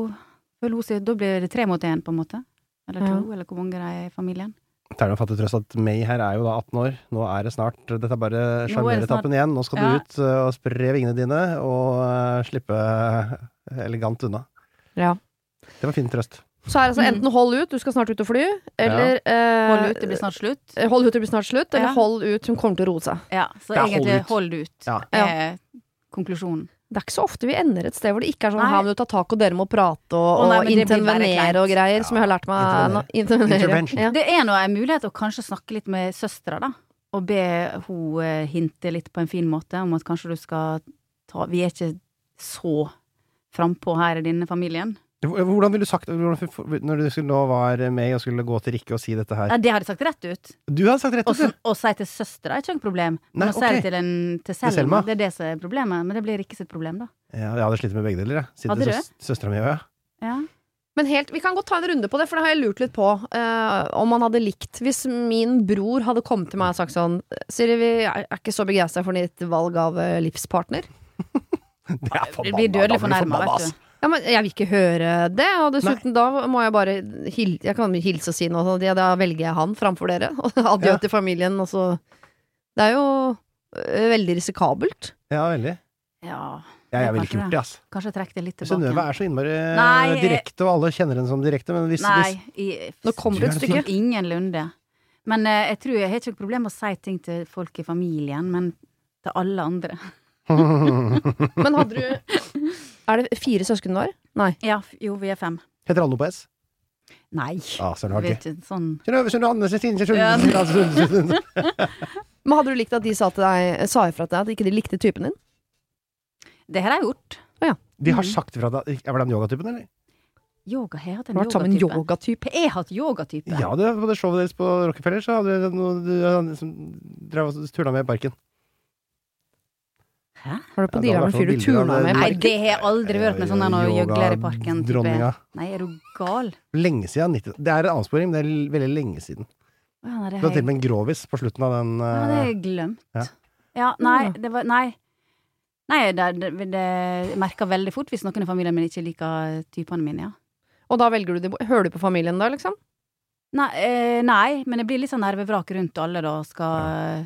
føler hun seg- Da blir det tre mot én, på en måte. Eller to,
Ja.
eller hvor mange det er i familien.
Det er noen fattig trøst at May her er jo da 18 år. Nå er det snart Dette er bare
det
sjarmeretappen igjen. Nå skal
Ja.
du ut eh, og spre vingene dine og eh, slippe eh, elegant unna.
Ja.
Det var fin trøst.
Så er det altså
Mhm.
enten hold ut, du skal snart ut og fly, eller eh,
Hold ut, det blir snart slutt.
hold ut, det blir snart slutt, eller
Ja.
hold ut, hun kommer til å roe seg.
Ja, så
Det er
egentlig
hold
hold ut,
Ja.
er konklusjonen.
Det er ikke så ofte vi ender et sted hvor det ikke er sånn
Nei.
her må du ta tak, og dere må prate og,
Å, nei,
og
men det blir bare
intervenere og greier, som jeg har lært meg nå. Intervenere.
Intervention.
Ja.
Det er nå en mulighet å kanskje snakke litt med søstera, da. Og be hun eh, hinte litt på en fin måte om at kanskje du skal ta Vi er ikke så frampå her i denne familien.
Hvordan ville du sagt hvordan, Når du skulle, nå var May og skulle gå til Rikke og si dette her
Nei, det har jeg sagt rett ut.
Du hadde sagt rett
Og
ut, du!
så- Å si til søstera er ikke noe problem. Men
Nei,
å si det
ok.
til, en, til
Selma.
Selma, det er det som er problemet. Men det blir ikke sitt problem, da.
Ja, jeg hadde slitt med begge deler, jeg. Siden
Hadde du?
søs søstera mi òg, ja.
Ja.
Men helt, vi kan godt ta en runde på det, for det har jeg lurt litt på. eh, om man hadde likt Hvis min bror hadde kommet til meg og sagt sånn Siri, vi er er ikke så begeistra for ditt valg av eh, livspartner.
Det er
Du blir
da
dødelig
du
fornærma,
forbanna, ass.
vet du.
Ja, men jeg vil ikke høre det, og dessuten da må jeg bare hil Jeg kan hilse og si noe sånn, ja, da velger jeg han framfor dere. Og adjø
Ja.
til familien, og så Det er jo eh, veldig risikabelt.
Ja, veldig.
Ja,
Ja, jeg ville
Kanskje
ikke gjort det, ass.
kanskje trekk det litt tilbake.
Synnøve er så innmari eh,
Nei, jeg-
direkte, og alle kjenner henne som direkte, men hvis, hvis
Nei, i,
Nå kommer det et
Gjør det
stykke.
Ingenlunde. Men eh, jeg tror jeg har ikke noe problem med å si ting til folk i familien, men til alle andre.
Men hadde du Er det fire søsken du har? Nei.
Ja, f- jo, vi er fem.
Heter alle noe på S?
Nei.
Ah, søren, det var
vi er
gøy.
ikke sånn
Synnøve, Synnøve Andersen, Stine,
Ja.
Synnøve Andersen, Synnøve.
Men hadde du likt at de sa, til deg, sa ifra til deg at ikke de likte typen din?
Det har jeg gjort.
Å ja.
De har sagt fra deg Er det den yogatypen, eller?
Yoga, har jeg hatt
Du
en
har vært sammen med en
yogatype.
yogatype.
Jeg har hatt yogatype.
Ja, det, på det showet deres på Rockefeller så hadde dere noe du, han som drev og turna med i parken.
Hæ?
Har du på dealer
Ja, det har
med en fyr
vært
du
noen
turna
bilder av
med?
det.
i
Nei,
parken?
det har jeg aldri vært med sånn der når gjøgler i parken. Type.
Dronninga.
Nei, er du gal?
Eh, Lenge siden. 90. Det er en avsporing, men det er l- veldig lenge siden.
Å, ja, nei, det
Du
har
hadde til
jeg,
og med en grovis på slutten av den.
ja, det har
eh,
jeg glemt.
Ja.
Ja, nei, det var Nei. Nei, det, det, det jeg merker veldig fort hvis noen i familien min ikke liker typene mine, ja.
Og da velger du det bort. Hører du på familien da, liksom?
Nei, eh, nei men jeg blir litt sånn nervevrak rundt alle da, og skal eh,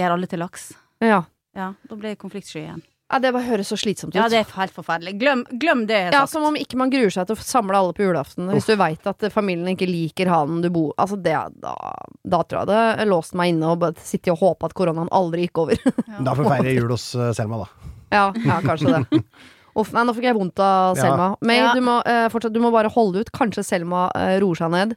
gjøre alle til laks.
Ja.
Ja, da blir jeg konfliktsky igjen.
Ja, det bare høres så slitsomt ut.
Ja, det er helt forferdelig. Glem, glem det jeg har
Ja,
sagt.
Som om ikke man gruer seg til å samle alle på julaften. Hvis du veit at eh, familien ikke liker hanen du bor Altså, det, da, da tror jeg det jeg låste meg inne og bare sitte og håpe at koronaen aldri gikk over.
Da får vi feire jul hos eh, Selma, da.
ja, ja, kanskje det. Uff, nei, nå fikk jeg vondt av
Ja.
Selma. May,
Ja.
du, må, eh, fortsatt, du må bare holde ut. Kanskje Selma eh, roer seg ned.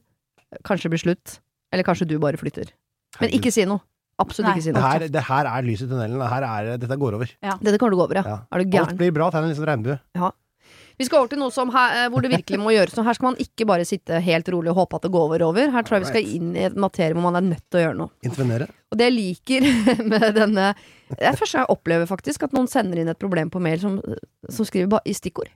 Kanskje det blir slutt. Eller kanskje du bare flytter. Men
Herregud.
ikke si noe. Absolutt
Nei.
ikke si
det
noe.
her, det her er lys i tunnelen. Det her er, dette går over.
Dette kommer til å gå over, ja.
Ja.
Er du
Alt
gæren?
blir bra. Tegn en liten regnbue.
Vi skal over til noe som her, eh, hvor det virkelig må gjøres noe. Her skal man ikke bare sitte helt rolig og håpe at det går over. over. Her tror jeg vi skal inn i en materie hvor man er nødt til å gjøre noe.
Intervenere.
Og det jeg liker med denne Det er første gang jeg opplever faktisk at noen sender inn et problem på mail som, som skriver bare i stikkord.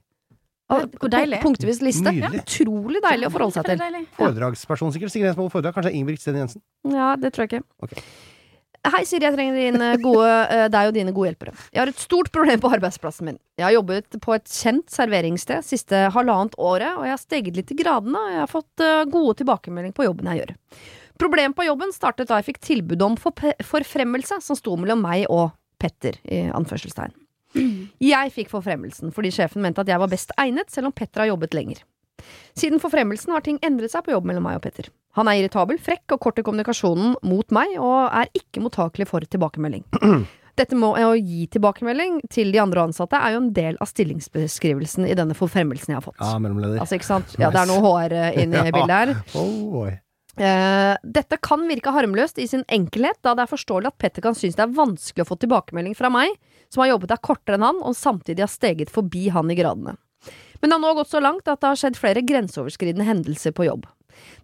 Ja, hvor deilig.
Punktvis liste.
Nydelig.
Utrolig deilig å forholde seg til.
Deilig.
Foredragsperson, sikkert. Sikkert en som holder foredrag. Kanskje Ingebrigt Sten Jensen.
Ja, det tror jeg ikke.
Ok.
Hei, Siri. Jeg trenger dine gode, eh, deg og dine gode hjelpere. Jeg har et stort problem på arbeidsplassen min. Jeg har jobbet på et kjent serveringssted siste halvannet året, og jeg har steget litt i gradene, og jeg har fått eh, gode tilbakemeldinger på jobben jeg gjør. Problemet på jobben startet da jeg fikk tilbud om forpe- forfremmelse, som sto mellom meg og Petter, i anførselstegn. Jeg fikk forfremmelsen fordi sjefen mente at jeg var best egnet, selv om Petter har jobbet lenger. Siden forfremmelsen har ting endret seg på jobb mellom meg og Petter. Han er irritabel, frekk og kort i kommunikasjonen mot meg, og er ikke mottakelig for tilbakemelding. Dette med å gi tilbakemelding til de andre ansatte er jo en del av stillingsbeskrivelsen i denne forfremmelsen jeg har fått.
Ja, mellomleder.
Altså, ikke sant? Ja, det er noe HR inne i
Ah, Ja.
bildet her.
Oh, boy.
Eh, dette kan virke harmløst i sin enkelhet, da det er forståelig at Petter kan synes det er vanskelig å få tilbakemelding fra meg, som har jobbet der kortere enn han, og samtidig har steget forbi han i gradene. Men det har nå gått så langt at det har skjedd flere grenseoverskridende hendelser på jobb.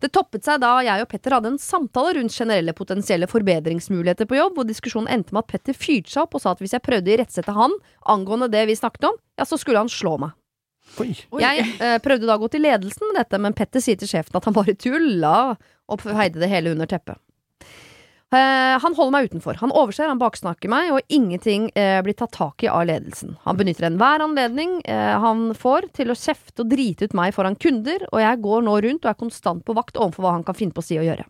Det toppet seg da jeg og Petter hadde en samtale rundt generelle potensielle forbedringsmuligheter på jobb, hvor diskusjonen endte med at Petter fyrte seg opp og sa at hvis jeg prøvde å irettesette han angående det vi snakket om, ja, så skulle han slå meg.
Oi.
Oi.
Jeg eh, prøvde da å gå til ledelsen med dette, men Petter sier til sjefen at han bare tulla og feide det hele under teppet. Eh, han holder meg utenfor. Han overser, han baksnakker meg, og ingenting eh, blir tatt tak i av ledelsen. Han benytter enhver anledning eh, han får til å kjefte og drite ut meg foran kunder, og jeg går nå rundt og er konstant på vakt overfor hva han kan finne på å si og gjøre.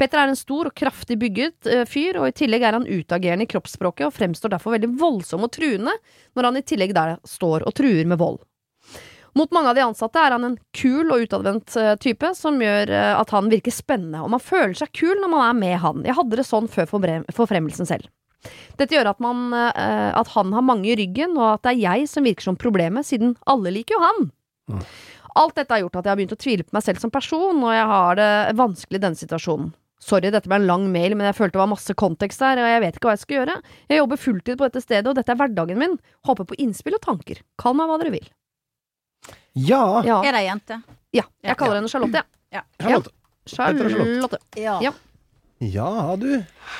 Petter er en stor og kraftig bygget eh, fyr, og i tillegg er han utagerende i kroppsspråket og fremstår derfor veldig voldsom og truende når han i tillegg der står og truer med vold. Mot mange av de ansatte er han en kul og utadvendt eh, type, som gjør eh, at han virker spennende, og man føler seg kul når man er med han. Jeg hadde det sånn før forbre- forfremmelsen selv. Dette gjør at, man, eh, at han har mange i ryggen, og at det er jeg som virker som problemet, siden alle liker jo han.
Mm.
Alt dette har gjort at jeg har begynt å tvile på meg selv som person, og jeg har det vanskelig i denne situasjonen. Sorry, dette ble en lang mail, men jeg følte det var masse kontekst der, og jeg vet ikke hva jeg skal gjøre. Jeg jobber fulltid på dette stedet, og dette er hverdagen min. Håper på innspill og tanker. Kall meg hva dere vil.
Ja.
Ja.
Er det ei jente?
Ja,
Ja.
jeg kaller henne Charlotte.
Charlotte. heter
Charlotte.
hun
Charlotte. Ja.
Ja, du.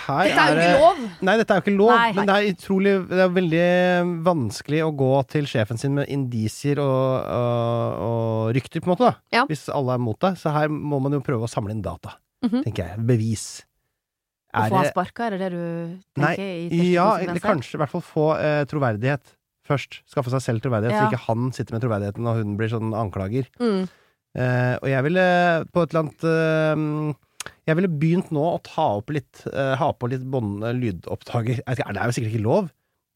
Her
Dette er jo
det-
ikke lov!
Nei, dette er jo ikke lov,
Nei.
men det er utrolig Det er veldig eh, vanskelig å gå til sjefen sin med indisier og, og, og rykter, på en måte, da.
Ja.
Hvis alle er mot deg. Så her må man jo prøve å samle inn data,
Mhm.
tenker jeg. Bevis.
Å
Er
få han
det
sparka, er det det du
Nei,
tenker? i første
Ja,
konsekvens
eller
her?
kanskje i hvert fall få eh, troverdighet først. Skaffe seg selv troverdighet,
Ja.
så ikke han sitter med troverdigheten og hun blir sånn anklager.
Mm.
Eh, og jeg ville på et eller annet eh, Jeg ville begynt nå å ta opp litt eh, Ha på litt bånd, lydopptaker. Jeg vet ikke, Det er jo sikkert ikke lov,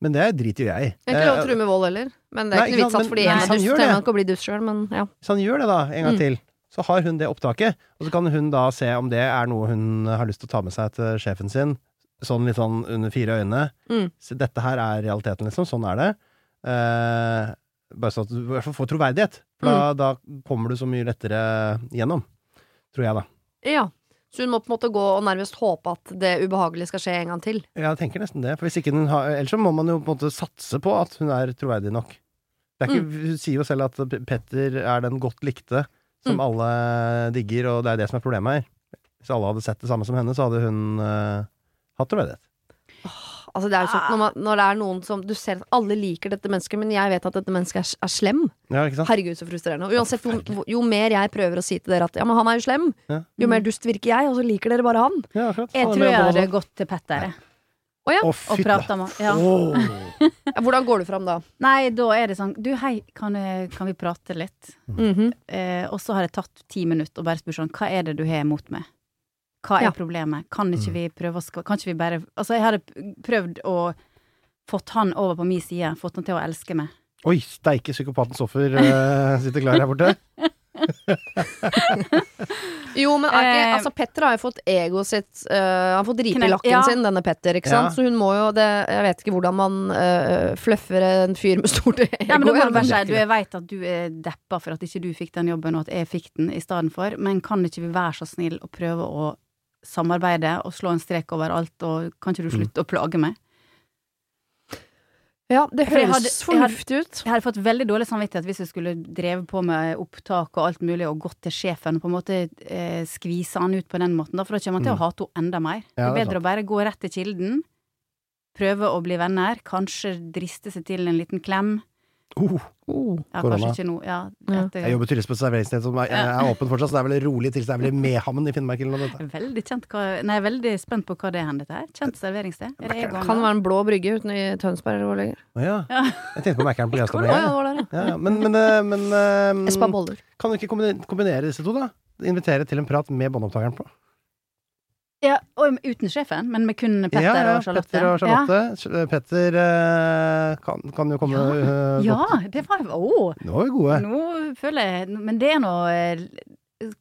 men det driter jo jeg i.
Det er ikke lov å
Eh,
true med vold heller. Men det er
Nei,
ikke noe
ikke
vits
sant,
at fordi
men-
en
Nei,
er
han
dust,
gjør
trenger
det.
man ikke å bli dust sjøl, men ja.
Hvis han gjør det, da, en gang
Mm.
til, så har hun det opptaket. Og så kan hun da se om det er noe hun har lyst til å ta med seg til sjefen sin. Sånn litt sånn under fire øyne.
Mm.
Så dette her er realiteten, liksom. Sånn er det. Eh, bare sånn at du i hvert fall får troverdighet. For
Mm.
da, da kommer du så mye lettere gjennom. Tror jeg, da.
ja. Så hun må på en måte gå og nærmest håpe at det ubehagelige skal skje en gang til.
Jeg tenker nesten det. For hvis ikke den har, ellers så må man jo på en måte satse på at hun er troverdig nok. Det er ikke, Hun sier jo selv at Petter er den godt likte som alle digger, og det er det som er problemet her. Hvis alle hadde sett det samme som henne, så hadde hun eh, hatt troverdighet.
Altså, det er jo sånn, når, man, når det er noen som Du ser at alle liker dette mennesket, men jeg vet at dette mennesket er, er slem.
Ja, ikke sant?
Herregud, så frustrerende. Og uansett, hvor, hvor- jo mer jeg prøver å si til dere at ja, men han er jo slem,
Ja.
jo mer dust virker jeg, og så liker dere bare han.
Ja, akkurat.
Jeg
Sånn
tror
er
jeg
det
hadde
også.
gått til Petter, jeg.
Å,
Å,
Og
fytti
prata med ja.
Åh.
Ja, hvordan går du fram da?
Nei, da er det sånn Du, hei, kan, eh, kan vi prate litt?
Mhm.
Eh, og så har jeg tatt ti minutter og bare spurt sånn Hva er det du har imot meg? Hva er
Ja.
problemet? Kan ikke vi prøve å sk- Kan ikke vi bare Altså, jeg hadde p- prøvd å fått han over på min side. Fått han til å elske meg.
Oi, steike psykopatens offer eh, sitter klar her borte.
Jo, men er ikke,
Eh,
altså Petter har jo fått egoet sitt eh, Han har fått ripe i
Knekt,
lakken
ja.
sin, denne Petter. ikke
Ja.
sant? Så hun må jo det Jeg vet ikke hvordan man eh, fløffer en fyr med stort ego.
Ja, men da må
ja,
du bare si du, jeg vet at du er deppa for at ikke du fikk den jobben, og at jeg fikk den i stedet for, men kan ikke vi være så snill og prøve å samarbeide og slå en strek over alt, og kan ikke du slutte å plage meg?
ja, det
For jeg
høres
hadde- jeg hadde-
fornuftig ut.
Jeg hadde fått veldig dårlig samvittighet hvis jeg skulle drevet på med opptak og alt mulig, og gått til sjefen og på en måte eh, skvise han ut på den måten, da, for da kommer han til å hate henne enda mer.
Mm. Ja, det
det er
er
bedre å bare gå rett til kilden, prøve å bli venner, kanskje driste seg til en liten klem.
Oh,
Oh.
Ja,
Korona.
kanskje ikke nå. Ja,
Ja.
etter-
jeg jobber tydeligvis på et serveringssted som er, er åpen fortsatt, så det er vel rolig til det er vel i Mehamn i Finnmark eller noe. dette.
Veldig kjent hva, nei, jeg er veldig spent på hva det er hen, dette her. Kjent serveringssted. Er det Egon?
Kan være en blå brygge uten i Tønsberg eller hvor lenger.
Å ja. Jeg tenkte på Mækkern på
Å
Gaustad.
ja,
Ja,
det var der, ja.
ja. Men, men, eh, men
Mm.
eh,
Espa Boller.
kan du ikke kombine- kombinere disse to, da? Invitere til en prat med båndopptakeren på.
Ja, og uten sjefen, men med kun Petter
ja, ja,
og Charlotte.
Petter og Charlotte. Sj- Petter eh, kan, kan jo komme
Ja.
eh,
ja,
godt.
det var Å!
Nå er vi gode.
Nå føler jeg Men det er nå eh,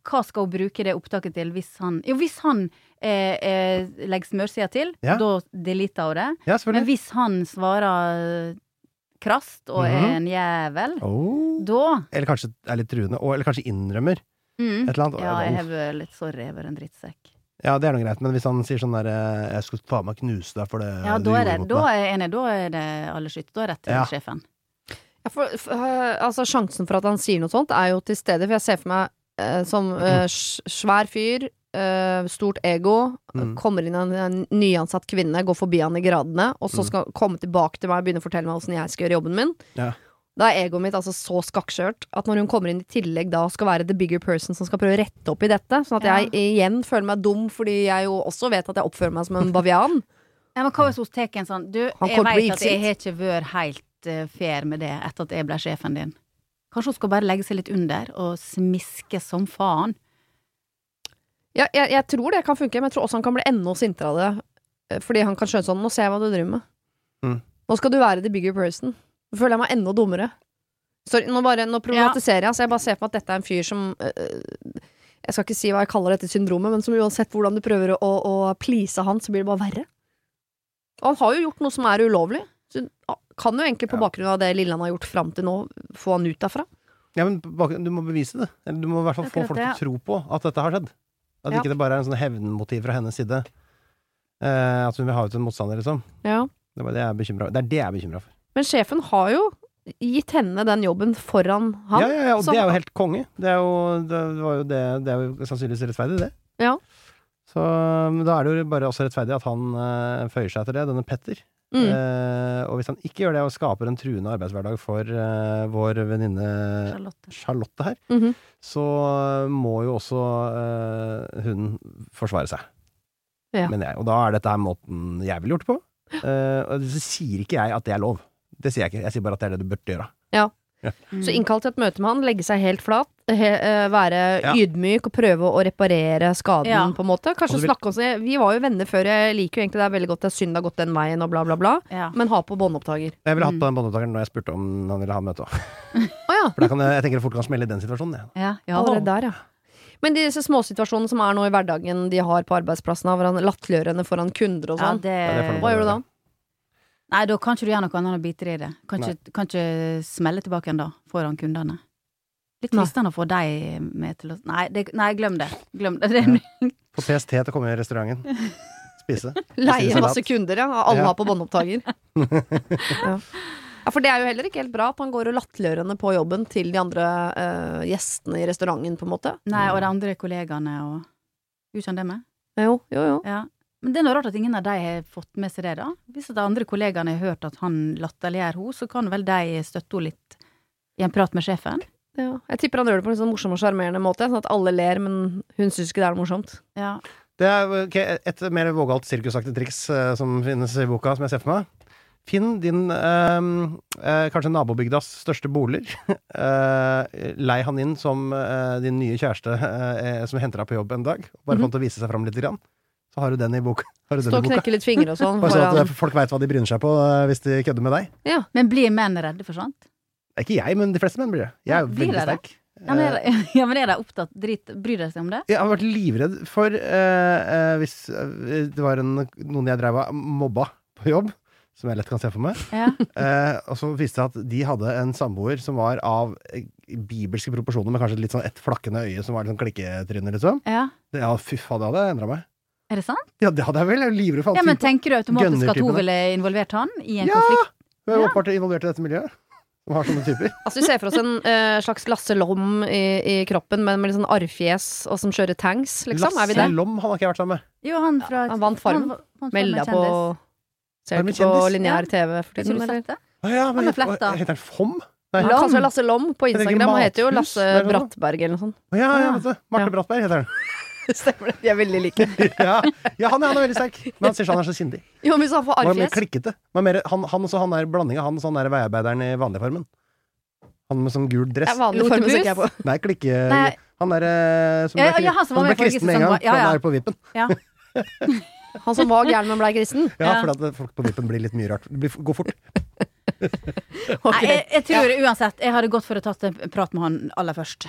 Hva skal hun bruke det opptaket til hvis han Jo, hvis han eh, eh, legger smørsida til,
Ja.
da deleter hun det.
Ja,
Men
selvfølgelig.
hvis han svarer krast og er en jævel,
Åh.
da
Eller kanskje er litt truende. Og, eller kanskje innrømmer
mm,
et eller annet.
Ja, jeg
Uff.
har vært litt sorry, jeg har vært en drittsekk.
Ja, det er noe greit, men hvis han sier sånn der eh, 'Jeg skulle faen meg knuse deg for det
Ja,
du
da er,
gjorde
det,
mot
da
meg'.
er jeg enig. Da er det alle skytt. Da er rett til
Ja.
sjefen.
Ja, for, f- øh, altså, sjansen for at han sier noe sånt, er jo til stede. For jeg ser for meg eh, som eh, s- svær fyr, eh, stort ego, eh,
Mm.
kommer inn en, en nyansatt kvinne, går forbi han i gradene, og
Mm.
så skal han komme tilbake til meg og begynne å fortelle meg åssen jeg skal gjøre jobben min.
Ja.
Da er egoet mitt altså så skakkskjørt at når hun kommer inn i tillegg da og skal være the bigger person som skal prøve å rette opp i dette, sånn at
Ja.
jeg igjen føler meg dum fordi jeg jo også vet at jeg oppfører meg som en bavian.
Ja, men hva hvis hun tar en sånn Du,
Han
jeg
kommer til å bli
vet at jeg
illsint.
har ikke vært helt eh, fair med det etter at jeg ble sjefen din. Kanskje hun skal bare legge seg litt under og smiske som faen.
Ja, jeg, jeg tror det kan funke, men jeg tror også han kan bli enda sintere av det. eh, Fordi han kan skjønne sånn Nå ser jeg hva du driver med.
Mm.
Nå skal du være the bigger person. Nå føler jeg meg enda dummere. Sorry, nå, bare, nå problematiserer jeg, så jeg bare ser på at dette er en fyr som eh, eh, Jeg skal ikke si hva jeg kaller dette syndromet, men som uansett hvordan du prøver å, å please han, så blir det bare verre. Og han har jo gjort noe som er ulovlig. Så ah, kan jo egentlig på bakgrunn av det lille han har gjort fram til nå, få han ut derfra.
Ja, men bak- du må bevise det. Eller du må i hvert fall få
Akkurat
folk
det,
til å tro på at dette har skjedd. At
Ja.
ikke det bare er en sånn hevnmotiv fra hennes side. Eh, at hun vil ha ut en motstander, liksom.
Ja.
Det er det jeg er bekymra for. Det er det jeg er bekymret for.
Men sjefen har jo gitt henne den jobben foran han.
Ja, ja, ja, og
som-
det er jo helt konge. Det er jo, det var jo, det, det er jo sannsynligvis rettferdig, det.
Ja.
Så men da er det jo bare også rettferdig at han eh, føyer seg etter det, denne Petter.
Mm.
Eh, og hvis han ikke gjør det, og skaper en truende arbeidshverdag for eh, vår venninne
Charlotte.
Charlotte her,
Mhm.
så må jo også eh, hun forsvare seg.
Ja.
Mener jeg. Og da er dette her måten jeg ville gjort det på. Eh, og så sier ikke jeg at det er lov. Det sier jeg ikke. Jeg sier bare at det er det du burde gjøre.
Mm,
Så innkall til et møte med han, legge seg helt flat, he, eh, være
Ja.
ydmyk og prøve å reparere skaden,
Ja.
på en måte.
Og
Kanskje
så vil-
snakke om sånn Vi var jo venner før, jeg liker jo egentlig det er veldig godt at synd har gått den veien og bla, bla, bla.
Ja.
Men ha på båndopptaker.
Jeg ville hatt på den båndopptakeren når jeg spurte om han ville ha møte òg.
Å ja,
For da kan jeg, jeg tenker det fort kan smelle i den situasjonen. Jeg.
Ja, ja.
allerede der, ja. Men disse småsituasjonen som er nå i hverdagen de har på arbeidsplassen, av hverandre, latterliggjør henne foran kunder og
ja
sånn.
det,
Ja, det får du
Hva gjør du da?
nei, da kan ikke du gjøre noe annet enn å bite i det. Kan ikke, kan ikke smelle tilbake igjen da, foran kundene. Litt
Nei.
fristende å få deg med til å Nei, det, nei glem det. Glem det. det er-
Få PST til å komme i restauranten. Spise.
Leie
Spise
masse
salat.
kunder, ja. Alle
Ja.
har på båndopptaker. Ja, For det er jo heller ikke helt bra at han går og latterliggjør henne på jobben til de andre eh, gjestene i restauranten, på en måte.
Nei, og de andre kollegaene og Gjorde ikke han det med?
Jo, jo, jo.
Ja. Men det er noe rart at ingen av de har fått med seg det, da. Hvis at de andre kollegaene har hørt at han latterliggjør henne, så kan vel de støtte henne litt i en prat med sjefen?
Ja. Jeg tipper han gjør det på en sånn morsom og sjarmerende måte, sånn at alle ler, men hun syns ikke det er noe morsomt.
Ja.
Det er ok, et mer vågalt sirkusaktig triks eh, som finnes i boka, som jeg ser for meg. Finn din eh, eh, kanskje nabobygdas største bolig. Eh, lei han inn som eh, din nye kjæreste eh, som henter deg på jobb en dag. Bare for han til å vise seg fram litt. Grann. Så har du den i boka. Har du den
Stå
i
og
boka.
knekke litt fingre og sånn.
Bare sånn at
foran-
eh, folk veit hva de bryner seg på eh, hvis de kødder med deg.
Men blir menn redde for sånt?
Det er Ikke jeg, men de fleste menn blir det. Jeg er jo
Blir
veldig
dere?
sterk.
Ja, men
Eh,
er, ja, men er de opptatt drit Bryr de seg om det?
Jeg har vært livredd for eh, eh, hvis eh, det var en, noen jeg drev av mobba på jobb, som jeg lett kan se for meg.
Ja.
Eh, og så viste det seg at de hadde en samboer som var av eh, bibelske proporsjoner, med kanskje litt sånn ett flakkende øye som var litt sånn klikketryne, liksom.
ja.
Det- Ja, fy faen, det hadde endra meg.
Er det sant?
Ja, det hadde jeg vel. Jeg er livredd for
Ja,
alt
men
typer.
Tenker du automatisk at hun
Gunner-typene.
ville involvert han i en
Ja!
konflikt?
Hun er jo
ja.
åpenbart involvert i dette miljøet. Som har sånne typer.
Altså Vi ser for oss en eh, slags Lasse Lom i, i kroppen, men med litt sånn arrfjes og som kjører tanks, liksom. Er vi
Lasse
der?
Lom han har ikke jeg vært sammen med.
Jo, han fra
han vant Farmen.
han vant Farmen
Melda på
kjendis.
Ser
Var
du
det
ikke på
kjendis?
lineær
Ja.
TV for
Har ikke
tiden,
du
eller?
sett det?
Å ja, men
Han er
het-
fletta.
hva- Heter han Fom? Nei.
Han
Å
kaller seg Lasse Lom på
Heter det ikke
Instagram. Han heter jo
Mathus?
Lasse
Er det noe?
Brattberg eller noe sånt.
ja, ja,
Ja.
vet du. Marte
Ja.
Brattberg heter han.
Stemmer det. De er veldig like.
ja. ja, han er, han er veldig sterk. Men han sier sånn han er så sindig.
Jo, men så han får
Han var mer
arrfjes.
klikkete. Han var mer, han, han også, han er blanding av han og han der veiarbeideren i vanlig farmen. Han med sånn gul
Det
dress.
er vanlig form
Lotepus?
tenker jeg på.
Nei, klikke...
Nei.
Han der eh, som
Ja,
ble,
ja, han som var med
ble
i
kristen med
Folkets
en gang,
som var- ja,
for han
ja.
er på vippen.
Han som var gæren, men blei kristen.
Ja,
Ja.
for at eh, folk på vippen blir litt mye rart. Det blir, går fort.
Ok.
Nei, jeg, jeg tror uansett Jeg hadde gått for å tatt en prat med han aller først.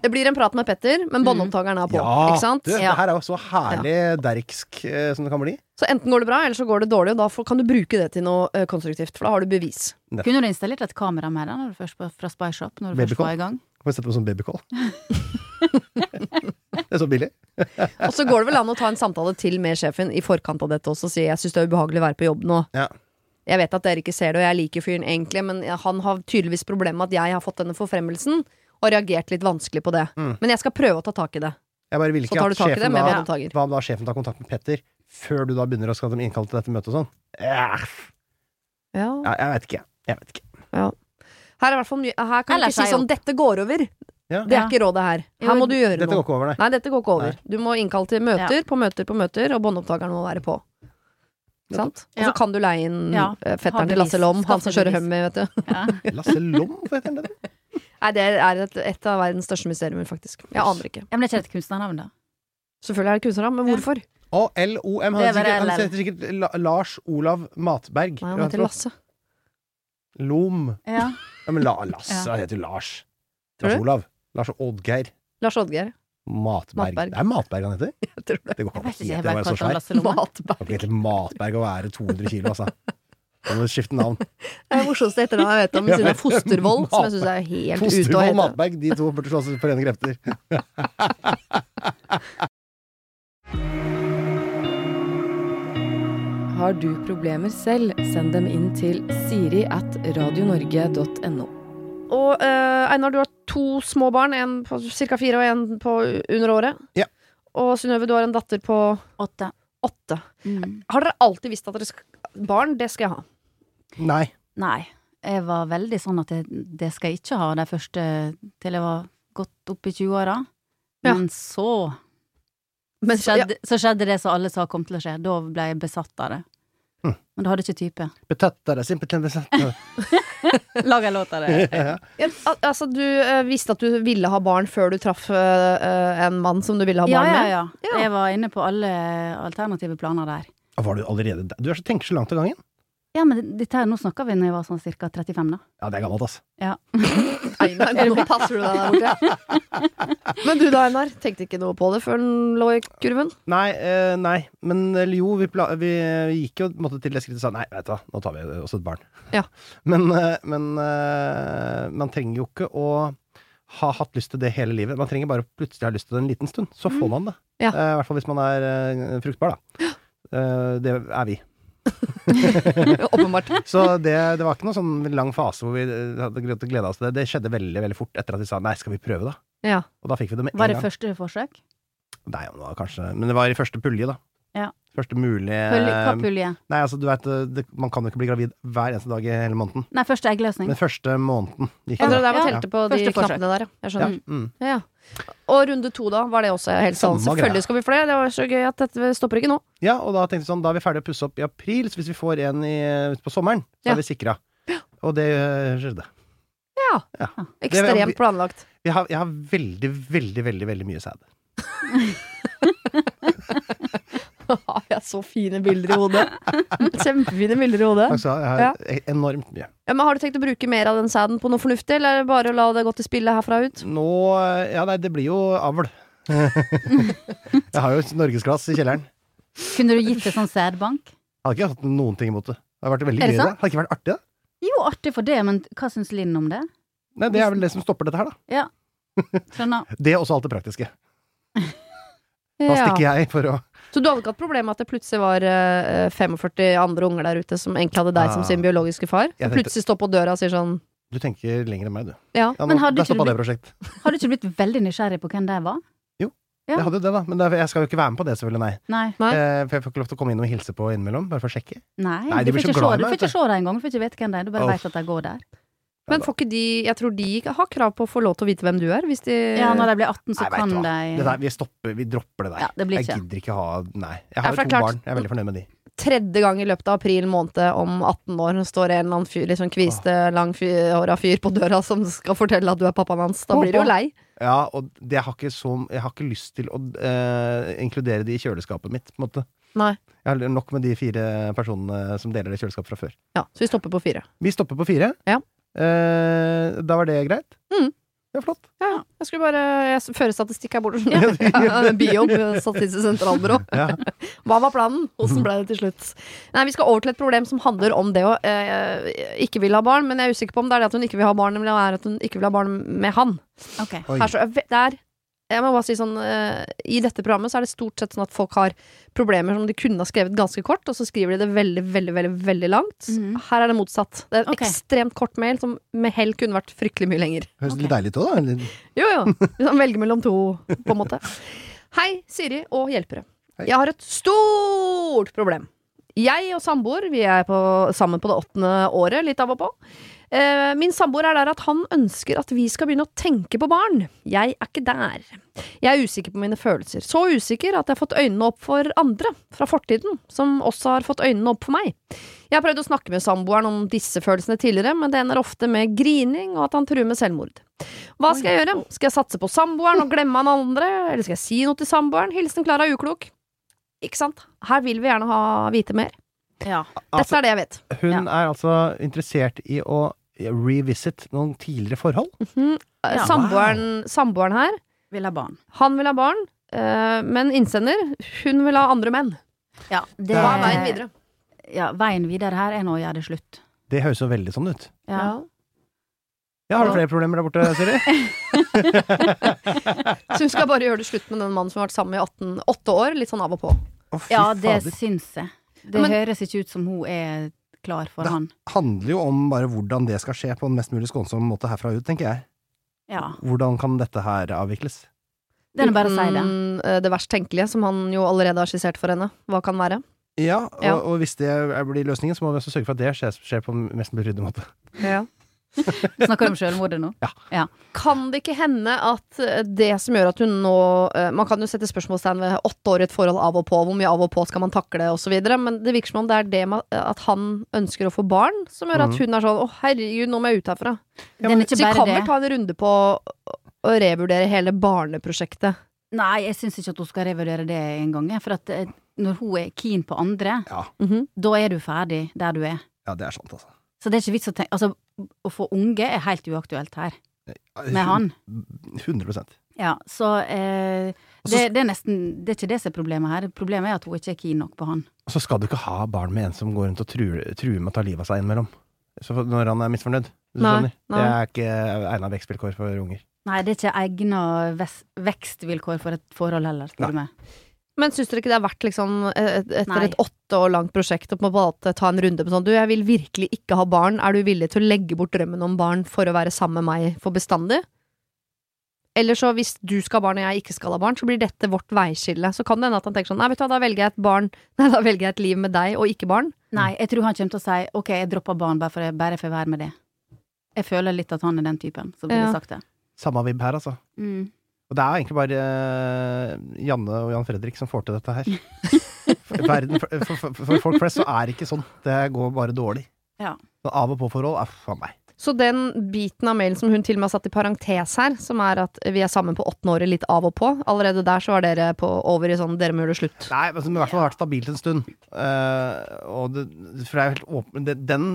Det blir en prat med Petter, men båndopptakeren er på. ikke sant? Ja.
du, Mm. det her er jo så herlig derksk eh, som det kan bli.
Så enten går det bra, eller så går det dårlig, og da får- kan du bruke det til noe eh, konstruktivt, for da har du bevis.
Kunne du installert et kamera med deg når du først var- fra Spy Shop? Når du først
Babycall?
var i gang?
Kan vi sette på sånn babycall? det er så billig.
Og så går det vel an å ta en samtale til med sjefen i forkant av dette også, og si jeg syns det er ubehagelig å være på jobb nå.
Ja.
Jeg vet at dere ikke ser det, og jeg liker fyren egentlig, men han har tydeligvis problemer med at jeg har fått denne forfremmelsen, og har reagert litt vanskelig på det.
Mm.
Men jeg skal prøve å ta tak i det.
Jeg bare
Så
vil ikke
tar
at
du tak i det
sjefen
med
da
båndopptaker.
Hva om da sjefen tar kontakt med Petter før du da begynner å skal de innkalle til dette møtet og sånn? Ja,
Ja.
jeg vet ikke. Jeg vet ikke.
Her, er i hvert fall mye- her kan du
Ellers
ikke si
er jo-
sånn 'dette går over'.
Ja.
Det er
Ja.
ikke rådet her.
Jo,
Her må du gjøre
Dette
noe.
går ikke over, nei.
Nei, dette går ikke over. Du må innkalle til møter på møter på møter, og båndopptakeren må være på. Ikke Sant? Og så
Ja.
kan du leie inn
Ja.
eh,
Ha
fetteren til
bevis.
Lasse Lom, han
Skaffe
som kjører
bevis.
Hummer, vet du.
Ja.
Lasse Lom, hva heter han? det?
Nei, det er et, et av verdens største mysterier, faktisk. Jeg aner ikke.
Ja, men det er ikke et kunstnernavn, da.
Selvfølgelig er det kunstnernavn, men hvorfor?
Og LOM. Han
Det er
heter
bare
sikkert, han
LL.
heter sikkert La- Lars Olav Matberg.
Nei, han heter Lasse.
Lom.
Ja.
Ja, men La Lasse
Ja.
han heter jo Lars.
Tror
Lars
du?
Olav. Lars Oddgeir.
Lars Oddgeir.
Matberg.
Matberg.
Det er Matberg han heter?
Jeg tror det.
Det går ikke an å
Jeg vet ikke,
hete det
jeg
å
bare
være så
kalte han
svær.
Lasse Lomme.
Han
Matberg.
blir hete Matberg og være 200 kilo, altså. Da må du skifte navn.
Det er det morsomste etternavnet jeg vet om, ved siden av Fostervoll, som jeg syns er helt ute å
Fostervoll
hete.
Matberg, de to burde slåss for rene krefter.
Har du problemer selv, send dem inn til siri at radionorge.no.
Og eh, Einar, du har to små barn. En på ca. fire og en på under året.
Ja.
Og Synnøve, du har en datter på
Åtte. Mm.
åtte. Har dere alltid visst at dere skal Barn, det skal jeg ha.
Nei.
Nei. Jeg var veldig sånn at jeg, det skal jeg ikke ha de første til jeg var godt opp i 20-åra.
Ja.
Men så
Men så-
skjedde, så skjedde det som alle sa kom til å skje. Da ble jeg besatt av det.
Hm.
Men du hadde ikke type.
Betøttere, simpelthen besettere.
Lag en låt av det.
Ja, al- altså, du eh, visste at du ville ha barn før du traff eh, eh, en mann som du ville ha
Ja,
barn
ja,
med?
ja.
Ja.
Jeg var inne på alle alternative planer der.
Var du allerede der? Du er så tenker så langt av gangen.
Ja, men dette her, nå snakker vi når jeg var sånn ca. 35, da.
Ja, det er gammelt, altså.
Einar, nå passer du deg der borte. Men du da, Einar. Tenkte ikke noe på det før den lå i kurven?
Nei, eh, nei. men eller jo, vi, pla vi gikk jo på en måte til det skrittet og sa nei, vet du hva, nå tar vi eh, også et barn.
Ja.
Men, eh, men eh, man trenger jo ikke å ha hatt lyst til det hele livet. Man trenger bare å plutselig ha lyst til det en liten stund. Så får man det.
Mm. Ja.
Eh, I hvert fall hvis man er eh, fruktbar, da. Eh, det er vi.
Åpenbart.
Så det, det var ikke noen sånn lang fase hvor vi eh, hadde gleda oss til det. Det skjedde veldig veldig fort etter at de sa nei, skal vi prøve, da?
Ja.
Og da fikk vi det med en
Var det
gang.
første forsøk?
Nei, det var kanskje, men det var i første pulje, da.
Ja.
Første mulige
Pulje, hva pulje?
Nei, altså, du vet, det, man kan jo ikke bli gravid hver eneste dag i hele måneden.
Nei, første eggløsning.
Men første måneden gikk
Ja, det
det.
var der man
Ja.
telte på de
Første forsøk.
knappene der, ja. Jeg
Ja.
skjønner.
Mm.
Ja. Og runde to, da? Var det også helt sånn?
Samme greia.
Selvfølgelig skal vi flere. Det var så gøy at dette stopper ikke nå.
ja, og da tenkte vi sånn, da er vi ferdig å pusse opp i april, så hvis vi får en i, ut på sommeren,
Ja.
så er vi sikra. Og det eh, skjedde.
Ekstremt planlagt.
Jeg har, jeg har veldig, veldig, veldig veldig mye sæd.
Har jeg så fine bilder i hodet? Kjempefine bilder i hodet.
Altså, jeg har
Ja.
e- enormt mye.
Ja, men har du tenkt å bruke mer av den sæden på noe fornuftig, eller er det bare å la det gå til spille herfra ut?
Nå eh, Ja, nei, det blir jo avl. jeg har jo et norgesglass i kjelleren.
Kunne du gitt det sånn sædbank?
Hadde ikke hatt noen ting imot det. Det hadde vært veldig
Er det
gøy. Det.
sant?
Hadde ikke vært artig, det.
Jo, artig for det, men hva syns Linn om det?
Nei, det er vel det som stopper dette her, da.
Skjønner.
Det og så alt det praktiske. Da stikker jeg for å
Så du hadde ikke hatt problem med at det plutselig var eh, 45 andre unger der ute som egentlig hadde deg som
Ah.
sin biologiske far?
Jeg
Som
tenkte-
plutselig står på døra og sier sånn
Du tenker lenger enn meg, du.
Ja.
Ja, nå,
Men hadde
der
ikke du
stoppa det prosjekt.
Har du ikke blitt veldig nysgjerrig på hvem det var? Ja.
Jeg hadde jo det, da. Men det er- jeg skal jo ikke være med på det, selvfølgelig. Nei.
Nei.
Nei.
Eh, for jeg får ikke lov til å komme inn og hilse på innimellom. Bare for å sjekke.
Nei,
Nei, de
du
blir
får
så
ikke
glad i
se- du
meg,
får
vet
ikke se det engang. Du får ikke vite hvem det er. Du bare
Uff.
vet at de går der.
Men får ikke de Jeg tror de ikke har krav på å få lov til å vite hvem du er, hvis de
Ja, når de blir 18, så
Eh, Nei, vet
kan
du hva.
de
Det der, vi stopper, vi dropper det der.
Ja, det blir
jeg
ikke.
gidder ikke ha Nei. Jeg
Ja,
har
for
jo to
det er klart-
barn. Jeg er veldig fornøyd med de.
tredje gang i løpet av april måned om 18 år står en eller annen fyr, litt sånn kviste, langhåra fyr på døra som skal fortelle at du er pappaen hans. Da blir du jo lei.
Ja, og det, jeg, har ikke så, jeg har ikke lyst til å eh, inkludere de i kjøleskapet mitt, på en måte.
Nei.
Jeg har nok med de fire personene som deler det kjøleskapet fra før.
Ja, så vi stopper på fire.
Vi stopper på fire.
Ja.
Eh, da var det greit?
Mm.
Det er flott.
Ja, jeg skulle bare jeg s- fører statistikk her borte.
Ja, du gjør det.
Biob, Statistisk sentralbyrå.
Ja.
Hva var planen? Åssen ble det til slutt? Nei, Vi skal over til et problem som handler om det å eh, ikke vil ha barn. Men jeg er usikker på om det er det at hun ikke vil ha barn, eller er at hun ikke vil ha barn med han.
Ok.
Oi.
Her så, det er, jeg må bare si sånn eh, I dette programmet så er det stort sett sånn at folk har problemer som de kunne ha skrevet ganske kort, og så skriver de det veldig, veldig, veldig veldig langt.
Mhm.
Her er det motsatt. Det er en
Ok.
ekstremt kort mail som med hell kunne vært fryktelig mye lenger.
Høres
Ok.
litt deilig ut òg, da.
Jo, jo. Liksom velge mellom to, på en måte. Hei, Siri og hjelpere.
Hei.
Jeg har et stort problem. Jeg og samboer vi er på, sammen på det åttende året, litt av og på. Eh, Min samboer er der at han ønsker at vi skal begynne å tenke på barn. Jeg er ikke der. Jeg er usikker på mine følelser. Så usikker at jeg har fått øynene opp for andre fra fortiden, som også har fått øynene opp for meg. Jeg har prøvd å snakke med samboeren om disse følelsene tidligere, men det ender ofte med grining og at han truer med selvmord. Hva skal jeg gjøre? Skal jeg satse på samboeren og glemme han andre, eller skal jeg si noe til samboeren? Hilsen Klara Uklok. Ikke sant? Her vil vi gjerne ha vite mer.
Ja.
Dette er det jeg vet.
Hun er altså interessert i å revisit noen tidligere forhold.
Eh,
Ja.
Samboeren, samboeren her,
Vil ha barn.
han vil ha barn, eh, men innsender, hun vil ha andre menn.
Ja, det,
Hva er veien videre?
Ja, veien videre her er nå å gjøre det slutt.
Det høres jo veldig sånn ut.
Ja.
Ja, har du flere problemer der borte, Siri?
Så hun skal bare gjøre det slutt med den mannen som har vært sammen i 18, 8 år, litt sånn av og på.
Å, fy
Ja, det
fader.
syns jeg. Det
Men-
høres ikke ut som hun er klar for
Da-
han.
handler jo om bare hvordan det skal skje på en mest mulig skånsom måte herfra ut, tenker jeg.
Ja.
Hvordan kan dette her avvikles?
Det er bare å si det.
Uten, eh, det verst tenkelige, som han jo allerede har skissert for henne. Hva kan være?
Ja, og,
Ja.
og hvis det er- blir løsningen, så må vi også sørge for at det skjer, skjer på en mest mulig ryddig måte. Mm.
Snakker du om selvmordet nå?
Kan det ikke hende at eh, det som gjør at hun nå eh, Man kan jo sette spørsmålstegn ved åtte år i et forhold av og på, hvor mye av og på skal man takle, osv., men det virker som om det er det med at han ønsker å få barn, som gjør at hun er sånn Å, herregud, nå må jeg ut herfra.
Den er ikke
Så vi
bare
kan
det.
vel ta en runde på å- å revurdere hele barneprosjektet.
Nei, jeg syns ikke at hun skal revurdere det en gang. jeg, For at eh, når hun er keen på andre,
Ja.
Mhm.
da er du ferdig der du er.
Ja, det er sant, altså.
Så det er ikke vits å tenke Altså, å få unge er helt uaktuelt her. Med han.
100
Ja, så eh,
Og så-
det, det er nesten Det er ikke det som er problemet her. Problemet er at hun ikke er keen nok på han.
Og så skal du ikke ha barn med en som går rundt og truer, truer med å ta livet av seg innimellom. Så for- når han er misfornøyd. hvis du
Nei,
skjønner. Det
nei.
er ikke egna vekstvilkår for unger.
Nei, det er ikke egna ves- vekstvilkår for et forhold heller, spør du meg.
Men syns dere ikke det er verdt, liksom, et, etter
Nei.
et åtte år langt prosjekt, å på en måte ta en runde med sånn Du, jeg vil virkelig ikke ha barn. Er du villig til å legge bort drømmen om barn for å være sammen med meg for bestandig? Eller så, hvis du skal ha barn og jeg ikke skal ha barn, så blir dette vårt veiskille. Så kan det hende at han tenker sånn Nei, vet du hva, da velger jeg et barn Nei, da velger jeg et liv med deg og ikke barn.
Nei, jeg tror han kommer til å si ok, jeg dropper barn bare for jeg bare får være med det. Jeg føler litt at han er den typen som ville
Ja.
sagt det. Mm.
Samme vibb her, altså. Og det er egentlig bare eh, Janne og Jan Fredrik som får til dette her. For, verden, for, for, for folk flest så er det ikke sånn. Det går bare dårlig.
Ja.
Så av og på-forhold er faen meg.
Så den biten av mailen som hun til og med har satt i parentes her, som er at vi er sammen på åttende året litt av og på, allerede der så var dere på over i sånn dere må gjøre det slutt.
Nei, men som i hvert fall har vært stabilt en stund. Eh, og det, for det er jo helt åpen, det, den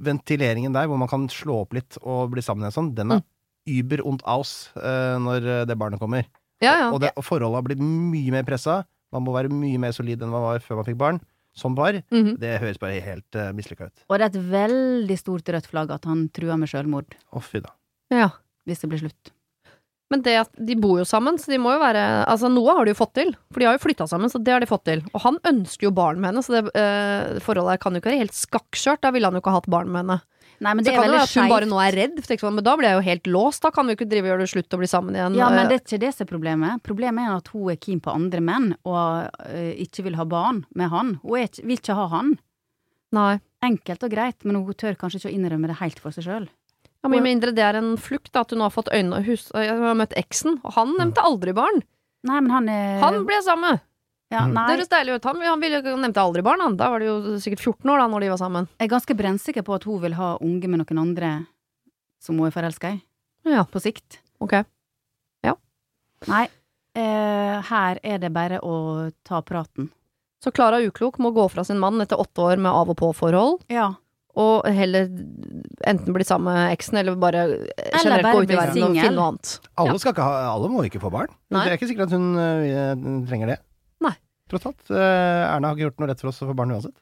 ventileringen der hvor man kan slå opp litt og bli sammen igjen sånn, den er über und aus eh, når eh, det barnet kommer.
Ja, ja.
Og, det, og forholdet har blitt mye mer pressa. Man må være mye mer solid enn man var før man fikk barn. Som par.
Mhm.
Det høres bare helt uh, mislykka ut.
Og det er et veldig stort rødt flagg at han truer med selvmord
Å, fy da.
ja.
hvis det blir slutt.
Men det at de bor jo sammen, så de må jo være Altså, noe har de jo fått til. For de har jo flytta sammen, så det har de fått til. Og han ønsker jo barn med henne, så det eh, forholdet her kan jo ikke være helt skakkskjørt. Da ville han jo ikke ha hatt barn med henne.
Nei, men
Så
det
kan
er
det være
veldig
at hun bare
skeivt.
nå er redd, for tenker sånn, men da blir jeg jo helt låst. Da kan vi jo ikke drive og gjøre det slutt og bli sammen igjen.
Ja, men
Eh,
det er ikke det som er problemet. Problemet er at hun er keen på andre menn, og eh, ikke vil ha barn med han. Hun er ikke, vil ikke ha han.
Nei.
Enkelt og greit, men hun tør kanskje ikke å innrømme det helt for seg sjøl.
Ja, Med mindre det er en flukt, da, at hun har fått øynene hus, Jeg har møtt eksen, og han nevnte aldri barn.
Nei, men han er
Han ble sammen!
ja,
Mm.
Eh, nei,
Det høres deilig ut. Han, han, ville, han nevnte aldri barn, han. Da var det jo sikkert 14 år da når de var sammen.
Jeg er ganske brennsikker på at hun vil ha unge med noen andre som hun er forelska i,
Ja,
på sikt.
ok.
Nei, eh, her er det bare å ta praten.
Så Klara Uklok må gå fra sin mann etter åtte år med av og på-forhold,
Ja.
og heller enten bli sammen med eksen, eller bare eh, generelt
bare
gå ut
bli
i verden og
singel.
finne noe annet.
Alle,
Ja.
skal ikke ha, alle må ikke få barn.
Nei.
Det er ikke sikkert at hun øh, trenger det.
Nei.
Tross alt. øh, Erna har ikke gjort noe rett for oss å få barn uansett.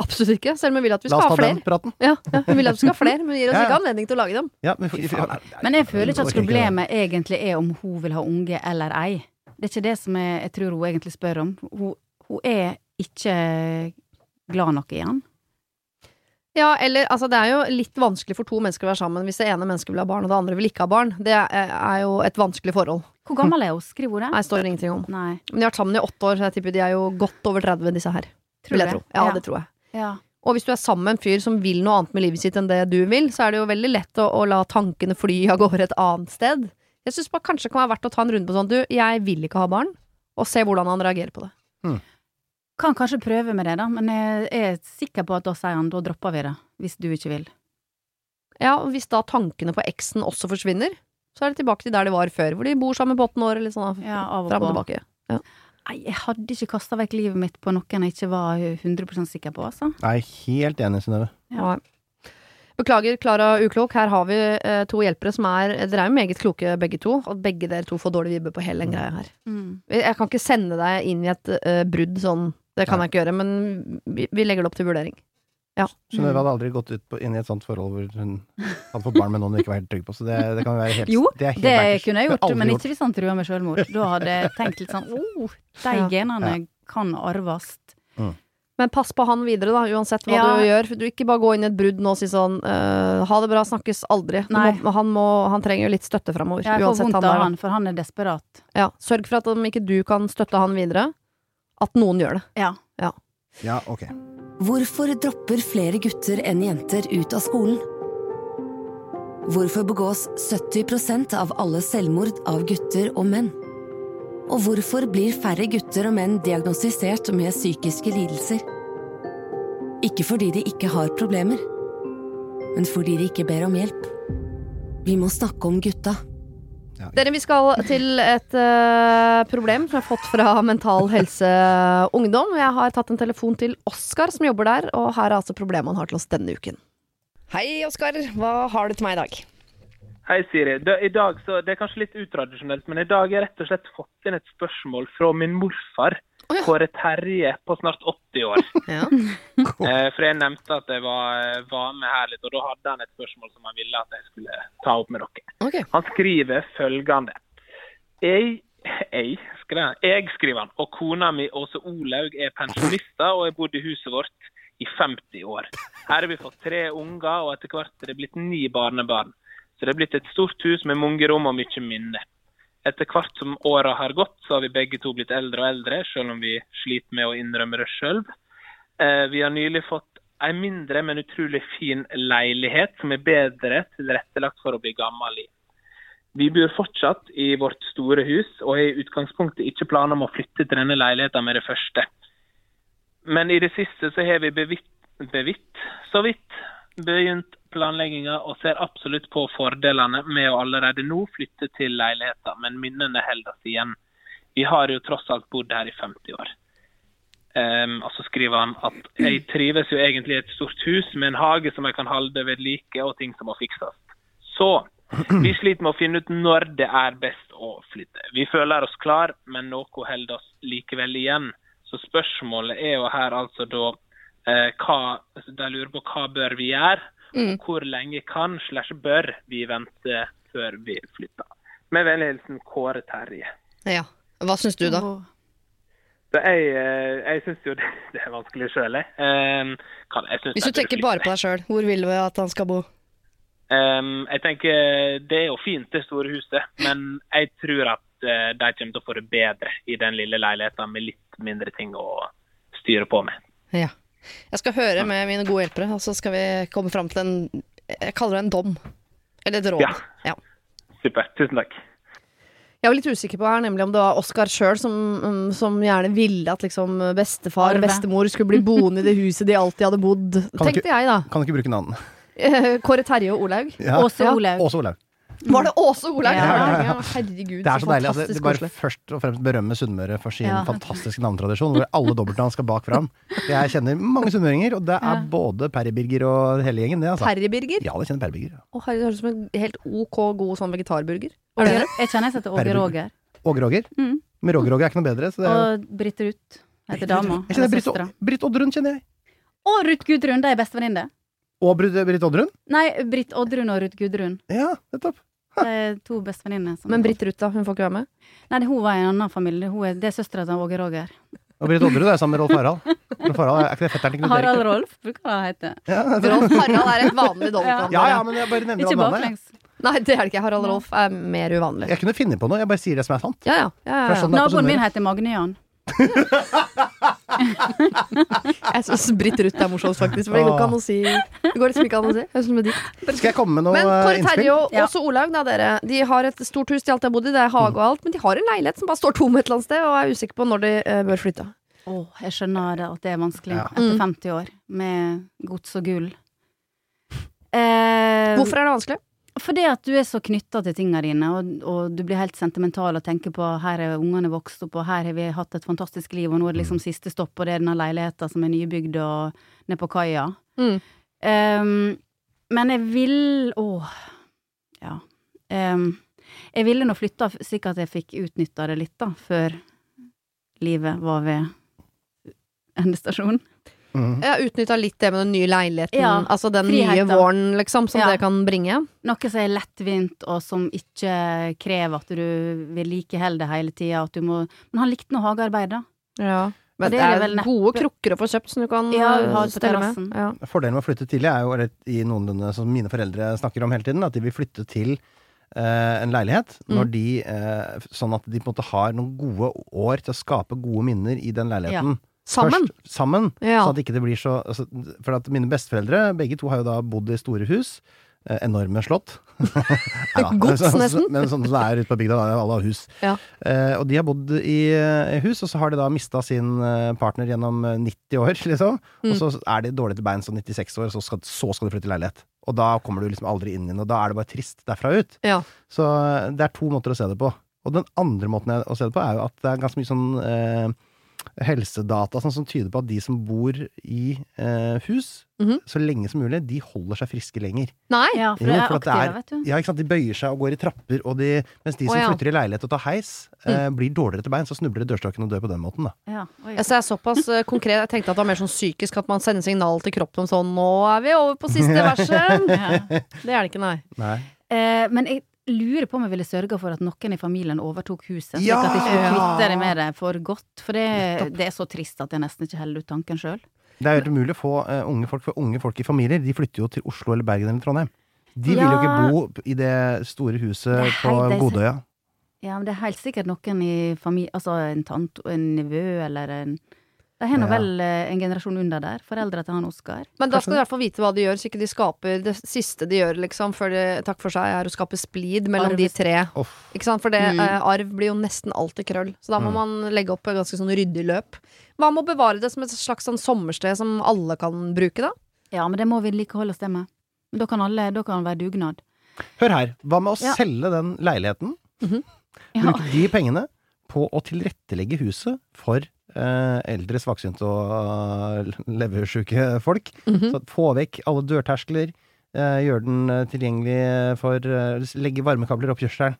Absolutt ikke, selv om hun vil at vi
La
skal
oss
ha
ta den
flere.
praten.
Ja, ja, hun vil at vi skal ha flere, men gir oss
Ja, ja.
ikke anledning til å lage dem.
Ja, men, faen,
Men jeg føler ikke at
orker det.
problemet egentlig er om hun vil ha unge eller ei. Det er ikke det som jeg, jeg tror hun egentlig spør om. Hun, hun er ikke glad nok i han.
Ja, eller altså det er jo litt vanskelig for to mennesker å være sammen hvis det ene mennesket vil ha barn, og det andre vil ikke ha barn. Det er er jo et vanskelig forhold.
Hvor gammel er hun? Skriver hun det?
Nei, står det ingenting om.
Nei.
Men de har vært sammen i åtte år, så jeg tipper de er jo godt over 30, disse her. Vil jeg
du
tro.
det?
Ja,
Ja.
det tror jeg.
Ja.
Og hvis du er sammen med en fyr som vil noe annet med livet sitt enn det du vil, så er det jo veldig lett å, å la tankene fly av gårde et annet sted. Jeg syns kanskje det kan være verdt å ta en runde på sånn, du, jeg vil ikke ha barn, og se hvordan han reagerer på det.
Kan kanskje prøve med det, da, men jeg er sikker på at da sier han da dropper vi det, hvis du ikke vil.
Ja, og hvis da tankene på eksen også forsvinner, så er det tilbake til der de var før, hvor de bor sammen på åttende år, eller sånn,
Ja, av og
fram og
på.
tilbake.
Nei, jeg hadde ikke kasta vekk livet mitt på noen jeg ikke var 100 sikker på, altså.
Nei, helt enig, Synnøve.
Ja.
Nei. Beklager, Klara Uklok. Her har vi eh, to hjelpere som er Dere er jo meget kloke, begge to. Og begge dere to får dårlig vibbe på hele den greia her. Jeg kan ikke sende deg inn i et eh, brudd sånn. Det kan jeg ikke gjøre, men vi, vi legger det opp til vurdering.
Synnøve hadde aldri gått ut på, inn i et sånt forhold hvor hun hadde fått barn med noen hun ikke var helt trygg på. Så det, det kan være helt
Jo,
det, er helt
Det
bankers.
kunne jeg
Det har
gjort,
aldri
men ikke hvis han trua med selvmord. Da hadde jeg tenkt litt sånn oh, de
Ja.
genene kan arves.
Men pass på han videre, da, uansett hva
Ja.
du gjør. Du Ikke bare gå inn i et brudd nå og si sånn eh, Ha det bra, snakkes aldri. Du
Nei.
Må, han, må, han trenger jo litt støtte framover.
Jeg får
Uansett
vondt
han
av
der.
han, for han er desperat.
da. Ja. Sørg for at om ikke du kan støtte han videre, at noen gjør det.
Ja.
Ja, ok.
Hvorfor dropper flere gutter enn jenter ut av skolen? Hvorfor begås 70 av alle selvmord av gutter og menn? Og hvorfor blir færre gutter og menn diagnostisert med psykiske lidelser? Ikke fordi de ikke har problemer, men fordi de ikke ber om hjelp. Vi må snakke om gutta.
Ja,
Dere, vi skal til et eh, problem som jeg har fått fra Mental Helse Ungdom. Jeg har tatt en telefon til Oskar som jobber der, og her er altså problemet han har til oss denne uken. Hei, Oskar. Hva har du til meg i dag?
Hei, Siri. Da- I dag, så Det er kanskje litt utradisjonelt, men i dag har jeg rett og slett fått inn et spørsmål fra min morfar,
Å ja.
Kåre Terje, på snart 80 år. Eh, For jeg nevnte at jeg var, var med her litt, og da hadde han et spørsmål som han ville at jeg skulle ta opp med dere.
Ok.
Han skriver følgende. Jeg Jeg skriver han. Jeg skriver han. Og kona mi Åse Olaug er pensjonister og har bodd i huset vårt i 50 år. Her har vi fått tre unger, og etter hvert er det blitt ni barnebarn. Så det er blitt et stort hus med mange rom og mye minner. Etter hvert som åra har gått, så har vi begge to blitt eldre og eldre, selv om vi sliter med å innrømme det sjøl. Vi har nylig fått ei mindre, men utrolig fin leilighet, som er bedre tilrettelagt for å bli gammel i. Vi bor fortsatt i vårt store hus, og har i utgangspunktet ikke planer om å flytte til denne leiligheten med det første. Men i det siste så har vi bevitt, bevitt så vidt, begynt planlegginga og ser absolutt på fordelene med å allerede nå flytte til leiligheten, men minnene holder oss igjen. Vi har jo tross alt bodd her i 50 år. Ehm, og så skriver han at jeg trives jo egentlig i et stort hus med en hage som jeg kan holde ved like, og ting som må fikses. Så vi sliter med å finne ut når det er best å flytte. Vi føler oss klar, men noe holder oss likevel igjen. Så spørsmålet er jo her altså da eh, hva, altså De lurer på hva bør vi gjøre?
Mm.
Og hvor lenge kan slash bør vi vente før vi flytter? Med vennlig hilsen Kåre Terje.
Ja. Hva syns du, da?
Og-
Så jeg eh, jeg syns jo det, det er vanskelig sjøl, jeg. Ehm, kan- jeg synes
Hvis du
jeg bør
tenker
flytte.
bare på deg sjøl, hvor vil du at han skal bo?
Ehm, jeg tenker Det er jo fint, det store huset, men jeg tror at eh, de kommer til å få det bedre i den lille leiligheten med litt mindre ting å styre på med.
Ja. Jeg skal høre med mine gode hjelpere, og så skal vi komme fram til en Jeg kaller det en dom. Eller et råd.
Ja. Supert. Tusen takk.
Jeg var litt usikker på her, nemlig om det var Oskar sjøl som, mm, som gjerne ville at liksom bestefar og
Arve.
bestemor skulle bli boende i det huset de alltid hadde bodd.
Kan
Tenkte jeg, da.
Kan ikke bruke navn.
Eh, Kåre Terje og Olaug.
Ja.
Åse
Ja.
Olaug.
Åse Olaug.
Var det Åse og Olaug?
Ja,
ja, ja.
Herregud,
Det er så deilig. Altså, det
fantastisk
er bare
koselig.
først og fremst berømme Sunnmøre for sin
Ja.
fantastiske navnetradisjon, hvor alle dobbeltnavn skal bak fram. Jeg kjenner mange sunnmøringer, og det er
Ja.
både Perry-Birger og hele gjengen, det, altså.
Terjeburger?
Ja, jeg kjenner Perry-Birger.
Å, herregud, det høres ut som en helt ok god sånn vegetarburger.
Åge- Jeg kjenner jeg heter Åge
Perle-
Roger.
Og Roger.
Mm.
Men Roger Roger er ikke noe bedre, så det er jo
Og Britt Ruth heter dama.
Jeg
eller
kjenner Britt,
søstera.
Britt Oddrun, kjenner jeg.
Og Ruth Gudrun, de er bestevenninner.
Og Britt, Britt Oddrun.
Nei, Britt Oddrun og Ruth Gudrun.
Ja, nettopp.
De er to bestevenninner. som-
Men Britt Ruth, da? Hun får ikke være med?
Nei, hun var i en annen familie. Hun er, det er søstera til Åge Roger.
Og Britt Oddrun er sammen med Rolf Harald. Rolf Harald er ikke det fetteren til Knut
Harald
Erik?
Rolf bruker det å hete.
Ja, nettopp.
Rolf Harald er et vanlig dobbeltnavn.
ja, ja, men jeg bare nevner
Ikke
alle navnene. jeg.
baklengs.
Nei, det er det ikke. Harald Rolf er mer uvanlig.
Jeg kunne finne på noe, jeg bare sier det som er sant.
Ja, ja. ja, ja,
For det er sånn
ja.
det er på
Naboen min
Sunnmøre.
heter Magne Jan.
Jeg syns Britt Ruth er morsomt, faktisk. For det går ikke an å si Det går liksom ikke an å si. Jeg synes det er dikt.
Skal jeg komme med noe
Men Kåre
eh,
Terje
innspill?
og
Ja.
også Olaug, da, dere. De har et stort hus de alltid har bodd i. Det er hage og alt. Men de har en leilighet som bare står tom et eller annet sted, og er usikker på når de eh, bør flytte.
Åh, jeg skjønner det, at det er vanskelig
Ja.
etter 50 år med gods og gull. Eh,
Hvorfor er det vanskelig?
Fordi at du er så knytta til tinga dine, og, og du blir helt sentimental og tenker på her er ungene vokst opp, og her har vi hatt et fantastisk liv, og nå er det liksom siste stopp, og det er denne leiligheta som er nybygd og nede på kaia.
Mm.
Ehm, men jeg vil Åh. Ja. Ehm, jeg ville nå flytta slik at jeg fikk utnytta det litt, da, før livet var ved endestasjon.
Mhm.
Jeg har utnytta litt det med den nye leiligheten.
Ja,
altså den
friheten.
nye våren, liksom, som
Ja.
det kan bringe.
Noe som er lettvint, og som ikke krever at du vedlikeholder det hele tida. at du må- Men han likte nå hagearbeid, da.
Men
Og
det
det er
er
vel neppe-
gode krukker å få kjøpt som du kan
Ja,
eh,
ha på
stelle med.
terrassen.
Ja.
Fordelen med å flytte tidlig er jo, eller i noenlunde som mine foreldre snakker om hele tiden, at de vil flytte til eh, en leilighet,
Mm.
når de, eh, sånn at de på en måte har noen gode år til å skape gode minner i den leiligheten.
Sammen.
Først, sammen
Ja.
Så at ikke det blir så altså, For at mine besteforeldre, begge to har jo da bodd i store hus. eh, Enorme slott. Neida, men
Gods,
så-
nesten.
Men sånn som det er ute på bygda, da. Alle har hus.
Ja.
Eh, og de har bodd i eh, hus, og så har de da mista sin eh, partner gjennom eh, 90 år, liksom. Og
Mm.
så er de dårlig til beins og 96 år, og så skal, så skal de flytte i leilighet. Og da kommer du liksom aldri inn igjen, og da er det bare trist derfra ut.
Ja.
Så eh, det er to måter å se det på. Og den andre måten jeg- å se det på, er jo at det er ganske mye sånn eh, helsedata sånn, som tyder på at de som bor i eh, hus,
Mhm.
så lenge som mulig, de holder seg friske lenger.
Nei!
Ja, for
Jo,
det er
for at det
aktive,
er-
vet du.
Ja, ikke sant? De bøyer seg og går i trapper, og de, mens de som
Å, ja.
flytter i leilighet og tar heis,
Mm.
eh, blir dårligere til beins og snubler i dørstokken og dør på den måten. Da.
Ja, oi.
Jeg, er såpass eh, konkret, jeg tenkte at det var mer sånn psykisk at man sender signal til kroppen om sånn Nå er vi over på siste verset!
Ja.
Det er det ikke, nei.
Nei.
Eh, men jeg lurer på om jeg ville sørga for at noen i familien overtok huset. Slik
Ja!
at de skulle
Ja.
kvitte deg med det for godt. For det, det er så trist at jeg nesten ikke holder ut tanken sjøl.
Det er helt umulig å få eh, unge folk, for unge folk i familier de flytter jo til Oslo eller Bergen eller Trondheim. De vil jo
Ja.
ikke bo i det store huset
Nei,
på
det er så-
Godøya.
Ja, men det er helt sikkert noen i familien Altså en tante og en nevø eller en De har nå
Ja.
vel eh, en generasjon under der. Foreldra til han Oskar.
Men da skal du i hvert fall vite hva de gjør, så ikke de skaper det siste de gjør, liksom, før de, takk for seg, er å skape splid mellom
Arv.
de tre.
Uff.
Ikke sant? For det,
Mm.
eh, arv blir jo nesten alltid krøll. Så da må
Mm.
man legge opp et ganske sånn ryddig løp. Hva med å bevare det som et slags sånn sommersted som alle kan bruke, da?
Ja, men det må vedlikeholde og stemme. Men Da kan alle Da kan det være dugnad.
Hør her, hva med å
Ja.
selge den leiligheten?
Ja.
Bruke de pengene på å tilrettelegge huset for eh, eldre, svaksynte og eh, leversjuke folk.
Mhm.
Så få vekk alle dørterskler, eh, gjøre den eh, tilgjengelig for eh, Legge varmekabler opp kjørselen.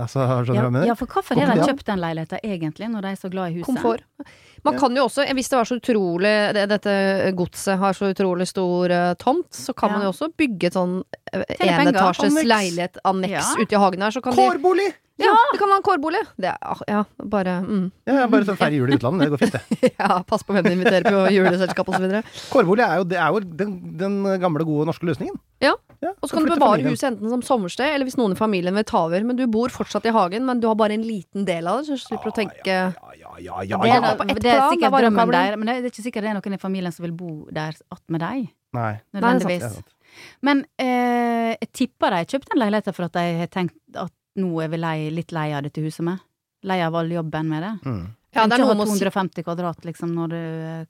Altså, skjønner du hva
Ja,
jeg mener?
ja, for hvorfor har de
Komfort.
kjøpt den leiligheten egentlig, når de er så glad i huset?
Komfort. Man kan jo også, hvis det var så utrolig det, Dette godset har så utrolig stor eh, tomt, så kan
Ja.
man jo også bygge et sånn eh,
Tjene penger.
enetasjes
Anneks.
leilighet, anneks,
Ja.
ute i hagen her. Så kan de,
Kårbolig!
ja, det kan være en kårbolig! Det, er- ah, ja, bare mm.
Ja, bare så færre jul i utlandet. Det går fint, det.
Ja, pass på hvem du inviterer på juleselskap osv. Og
Kårbolig er jo, det er jo den, den gamle, gode norske løsningen.
Ja. så
å
kan du
flytte
bevare
familien.
huset enten som sommersted, eller hvis noen i familien vil ta over. Men du bor fortsatt i hagen, men du har bare en liten del av det, så du slipper å tenke
Ja, ja, ja,
Det
ja,
er,
ja.
på ett
det er
plan, da
sikkert
var det
drømmen
kabler.
der, men det er ikke sikkert det er noen i familien som vil bo der att med deg.
Nei.
Nei, det er sant.
Nødvendigvis.
Det er sant.
Men eh, jeg tipper de kjøpte den leiligheten for at de har tenkt at nå er vi lei, litt lei av dette huset med. Lei av all jobben med det.
Mm.
Ja, det er
ikke
noe
ha
med å si
250 kvadrat liksom når du eh,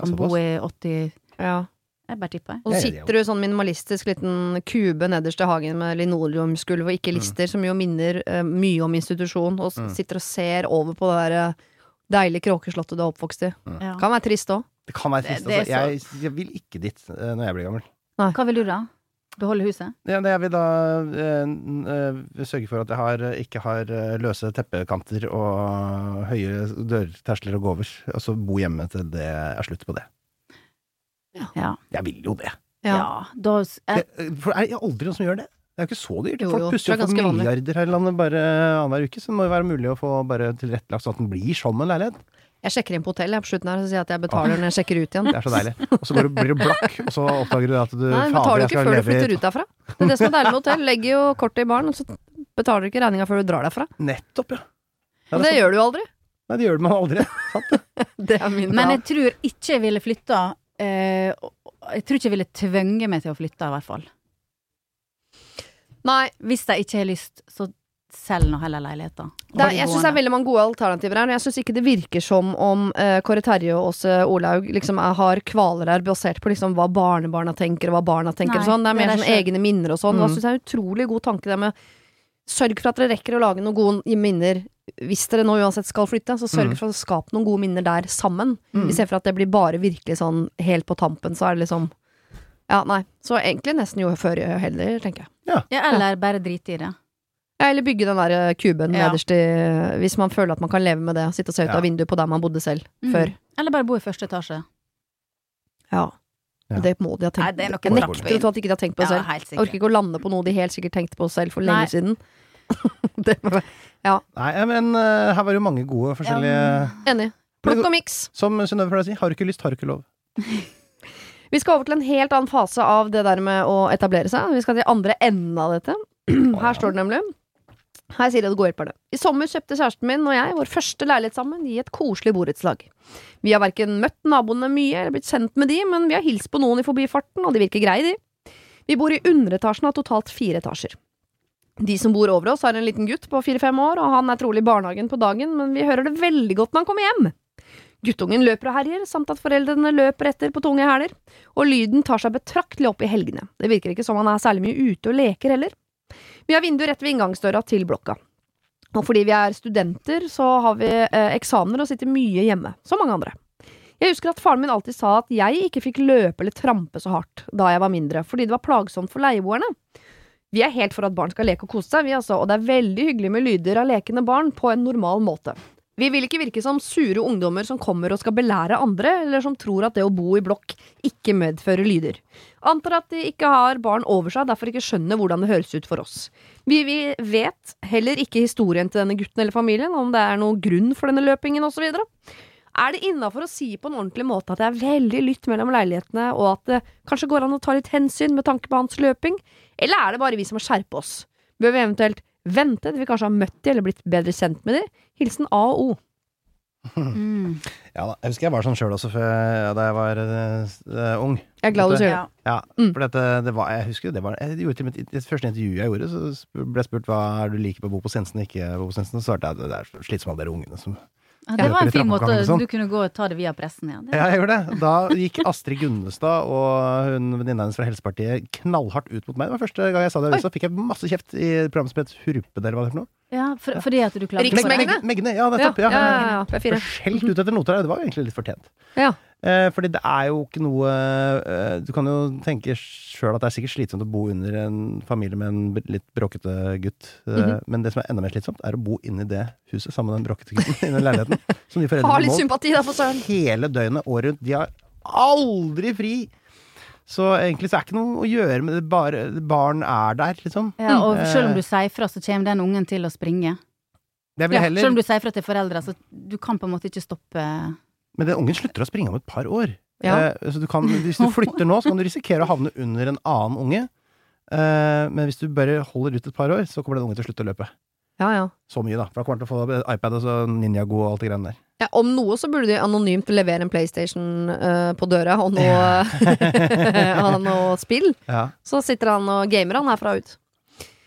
kan
Såpass.
bo i 80
ja.
Jeg bare tipper.
Og så
Det er det
sitter du i sånn minimalistisk liten kube nederst i hagen med linoleumsgulv og ikke lister, som jo minner eh, mye om institusjon, og s-
Mm.
sitter og ser over på det der eh, deilige kråkeslottet du er oppvokst i.
Ja.
Kan være trist òg.
Det kan være
Det-
trist.
det er
Altså. Jeg, jeg vil ikke dit eh, når jeg blir gammel.
Hva vil du da? Beholde huset?
Ja, det- jeg vil da eh, n- eh, sørge for at jeg har, ikke har eh, løse teppekanter og høye dørterskler og gåver. Og så bo hjemme til det er slutt på det.
Ja.
Jeg vil jo det.
ja. Da s-
det
jeg,
for er det aldri noen som gjør det? Det er jo ikke så dyrt.
Jo, jo,
Folk pusser
det er
jo for
ganske vanlig.
milliarder her i landet bare annenhver uke, så det må jo være mulig å få bare tilrettelagt sånn at den blir som en leilighet.
Jeg sjekker inn på hotell jeg, på slutten her, så sier jeg at jeg
Ah.
betaler når jeg sjekker ut igjen.
Det er så deilig. Og så går du, blir du blakk, og så oppdager du at du
Nei, men
fader,
betaler du ikke
jeg skal
før du
leve i-
flytter ut derfra. Det er det som er deilig med hotell. Legger jo kortet i baren, og så betaler du ikke regninga før du drar derfra.
Nettopp, ja. ja sånn.
Og det gjør du jo aldri.
Nei, det gjør man aldri. Sant det?
Det er min
men jeg tror ikke jeg ville flytta. eh, og- og jeg tror ikke jeg ville tvunget meg til å flytte, i hvert fall.
Nei,
Hvis de ikke har lyst, så selg nå heller leiligheten.
Det er, jeg synes det er veldig mange gode alternativer her. og Jeg synes ikke det virker som om eh, Kåre Terje og Åse Olaug liksom, er, har kvaler her basert på liksom, hva barnebarna tenker, og hva barna tenker.
Nei,
og sånn. Det er
det
mer
er
sånn
det
egne minner og sånn. Og
Mm.
Jeg synes det er en utrolig god tanke det med Sørg for at dere rekker å lage noen gode minner. Hvis dere nå uansett skal flytte, så sørg
Mm.
for å skape noen gode minner der sammen. I stedet for at det blir bare virkelig sånn helt på tampen, så er det liksom Ja, nei. Så egentlig nesten jo før jo heller, tenker jeg.
Ja, eller bare drite i det.
Ja, eller bygge den der eh, kuben
Ja.
nederst i Hvis man føler at man kan leve med det. Sitte og se ut
Ja.
av vinduet på der man bodde selv
Mm.
før.
Eller bare bo i første etasje.
Ja.
Ja.
Det må de ha tenkt
Nei, det er nok
Jeg
en
nekter å tro at de ikke har tenkt på det selv.
helt
Jeg orker ikke å lande på noe de helt sikkert tenkte på selv for lenge
Nei.
siden. det må være
Nei, men eh, her var det jo mange gode forskjellige
Enig. Plukk og miks.
Som Synnøve pleier å si, har du ikke lyst, har du ikke lov.
Vi skal over til en helt annen fase av det der med å etablere seg. Vi skal til andre enden av dette. Her står det nemlig. Her sier det det går hjelper det. I sommer kjøpte kjæresten min og jeg vår første leilighet sammen i et koselig borettslag. Vi har verken møtt naboene mye eller blitt kjent med de, men vi har hilst på noen i forbifarten, og de virker greie, de. Vi bor i underetasjen av totalt fire etasjer. De som bor over oss, har en liten gutt på fire-fem år, og han er trolig i barnehagen på dagen, men vi hører det veldig godt når han kommer hjem. Guttungen løper og herjer, samt at foreldrene løper etter på tunge hæler og lyden tar seg betraktelig opp i helgene. Det virker ikke som han er særlig mye ute og leker heller. Vi har vinduer rett ved inngangsdøra til blokka. Og fordi vi er studenter, så har vi eh, eksamener og sitter mye hjemme, som mange andre. Jeg husker at faren min alltid sa at jeg ikke fikk løpe eller trampe så hardt da jeg var mindre, fordi det var plagsomt for leieboerne. Vi er helt for at barn skal leke og kose seg, vi altså, og det er veldig hyggelig med lyder av lekende barn på en normal måte. Vi vil ikke virke som sure ungdommer som kommer og skal belære andre, eller som tror at det å bo i blokk ikke medfører lyder. Antar at de ikke har barn over seg, derfor ikke skjønner hvordan det høres ut for oss. Vi, vi vet heller ikke historien til denne gutten eller familien, om det er noen grunn for denne løpingen osv. Er det innafor å si på en ordentlig måte at det er veldig lytt mellom leilighetene, og at det kanskje går an å ta litt hensyn med tanke på hans løping? Eller er det bare vi som må skjerpe oss? Bør vi eventuelt vente til vi kanskje har møtt de eller blitt bedre kjent med de? Hilsen A og O.
Mm.
Ja, da. jeg husker jeg var sånn sjøl også før, ja, da jeg var eh, ung.
Jeg er glad du sier det.
Ja.
Ja,
Mm.
for dette, det var, jeg husker det var jeg gjorde til og med, I det første intervjuet jeg gjorde, så sp- ble jeg spurt hva er du liker på Bo på Sensen og ikke Bo på Sensen. Og så svarte jeg at det er slitsomt av dere ungene som
Ja, det var en fin måte
Trappeoppgangen og sånn.
du kunne gå og ta det via pressen, ja. Det.
Ja, jeg gjorde det. Da gikk Astrid Gunnestad og hun venninna hennes fra Helsepartiet knallhardt ut mot meg. Det var første gang jeg sa det i avisa. Fikk jeg masse kjeft i et program som het Hurpe, eller hva det er for noe.
Ja, for, fordi at du klarte
Riksmegne.
det.
Meg- Megne, ja, nettopp. Ja,
ja, ja, ja, P4.
Ble Skjelt ut etter noter her. Det var jo egentlig litt fortjent.
Ja.
Eh, fordi det er jo ikke noe eh, Du kan jo tenke sjøl at det er sikkert slitsomt å bo under en familie med en b- litt bråkete gutt. Eh, Men det som er enda mer slitsomt, er å bo inni det huset sammen med den bråkete gutten i den leiligheten. Som de
Ha
foreldrene
litt
må
sympati, da, for søren.
hele døgnet, året rundt. De har aldri fri! Så egentlig så er det ikke noe å gjøre med det. Bare, barn er der, liksom.
Ja, og
Mm.
selv om du sier fra, så kommer den ungen til å springe.
Det vil
Ja,
jeg heller,
selv om du sier fra til foreldra, så du kan på en måte ikke stoppe
Men den ungen slutter å springe om et par år.
Ja.
Eh, så du kan, hvis du flytter nå, så kan du risikere å havne under en annen unge. Eh, men hvis du bare holder ut et par år, så kommer den ungen til å slutte å løpe.
Ja, ja.
Så mye, da. For da kommer han til å få iPad og så Ninjago og alt det greiene der.
Ja, om noe så burde de anonymt levere en PlayStation eh, på døra og noe, og noe spill.
Ja.
Så sitter han og gamer han herfra ut.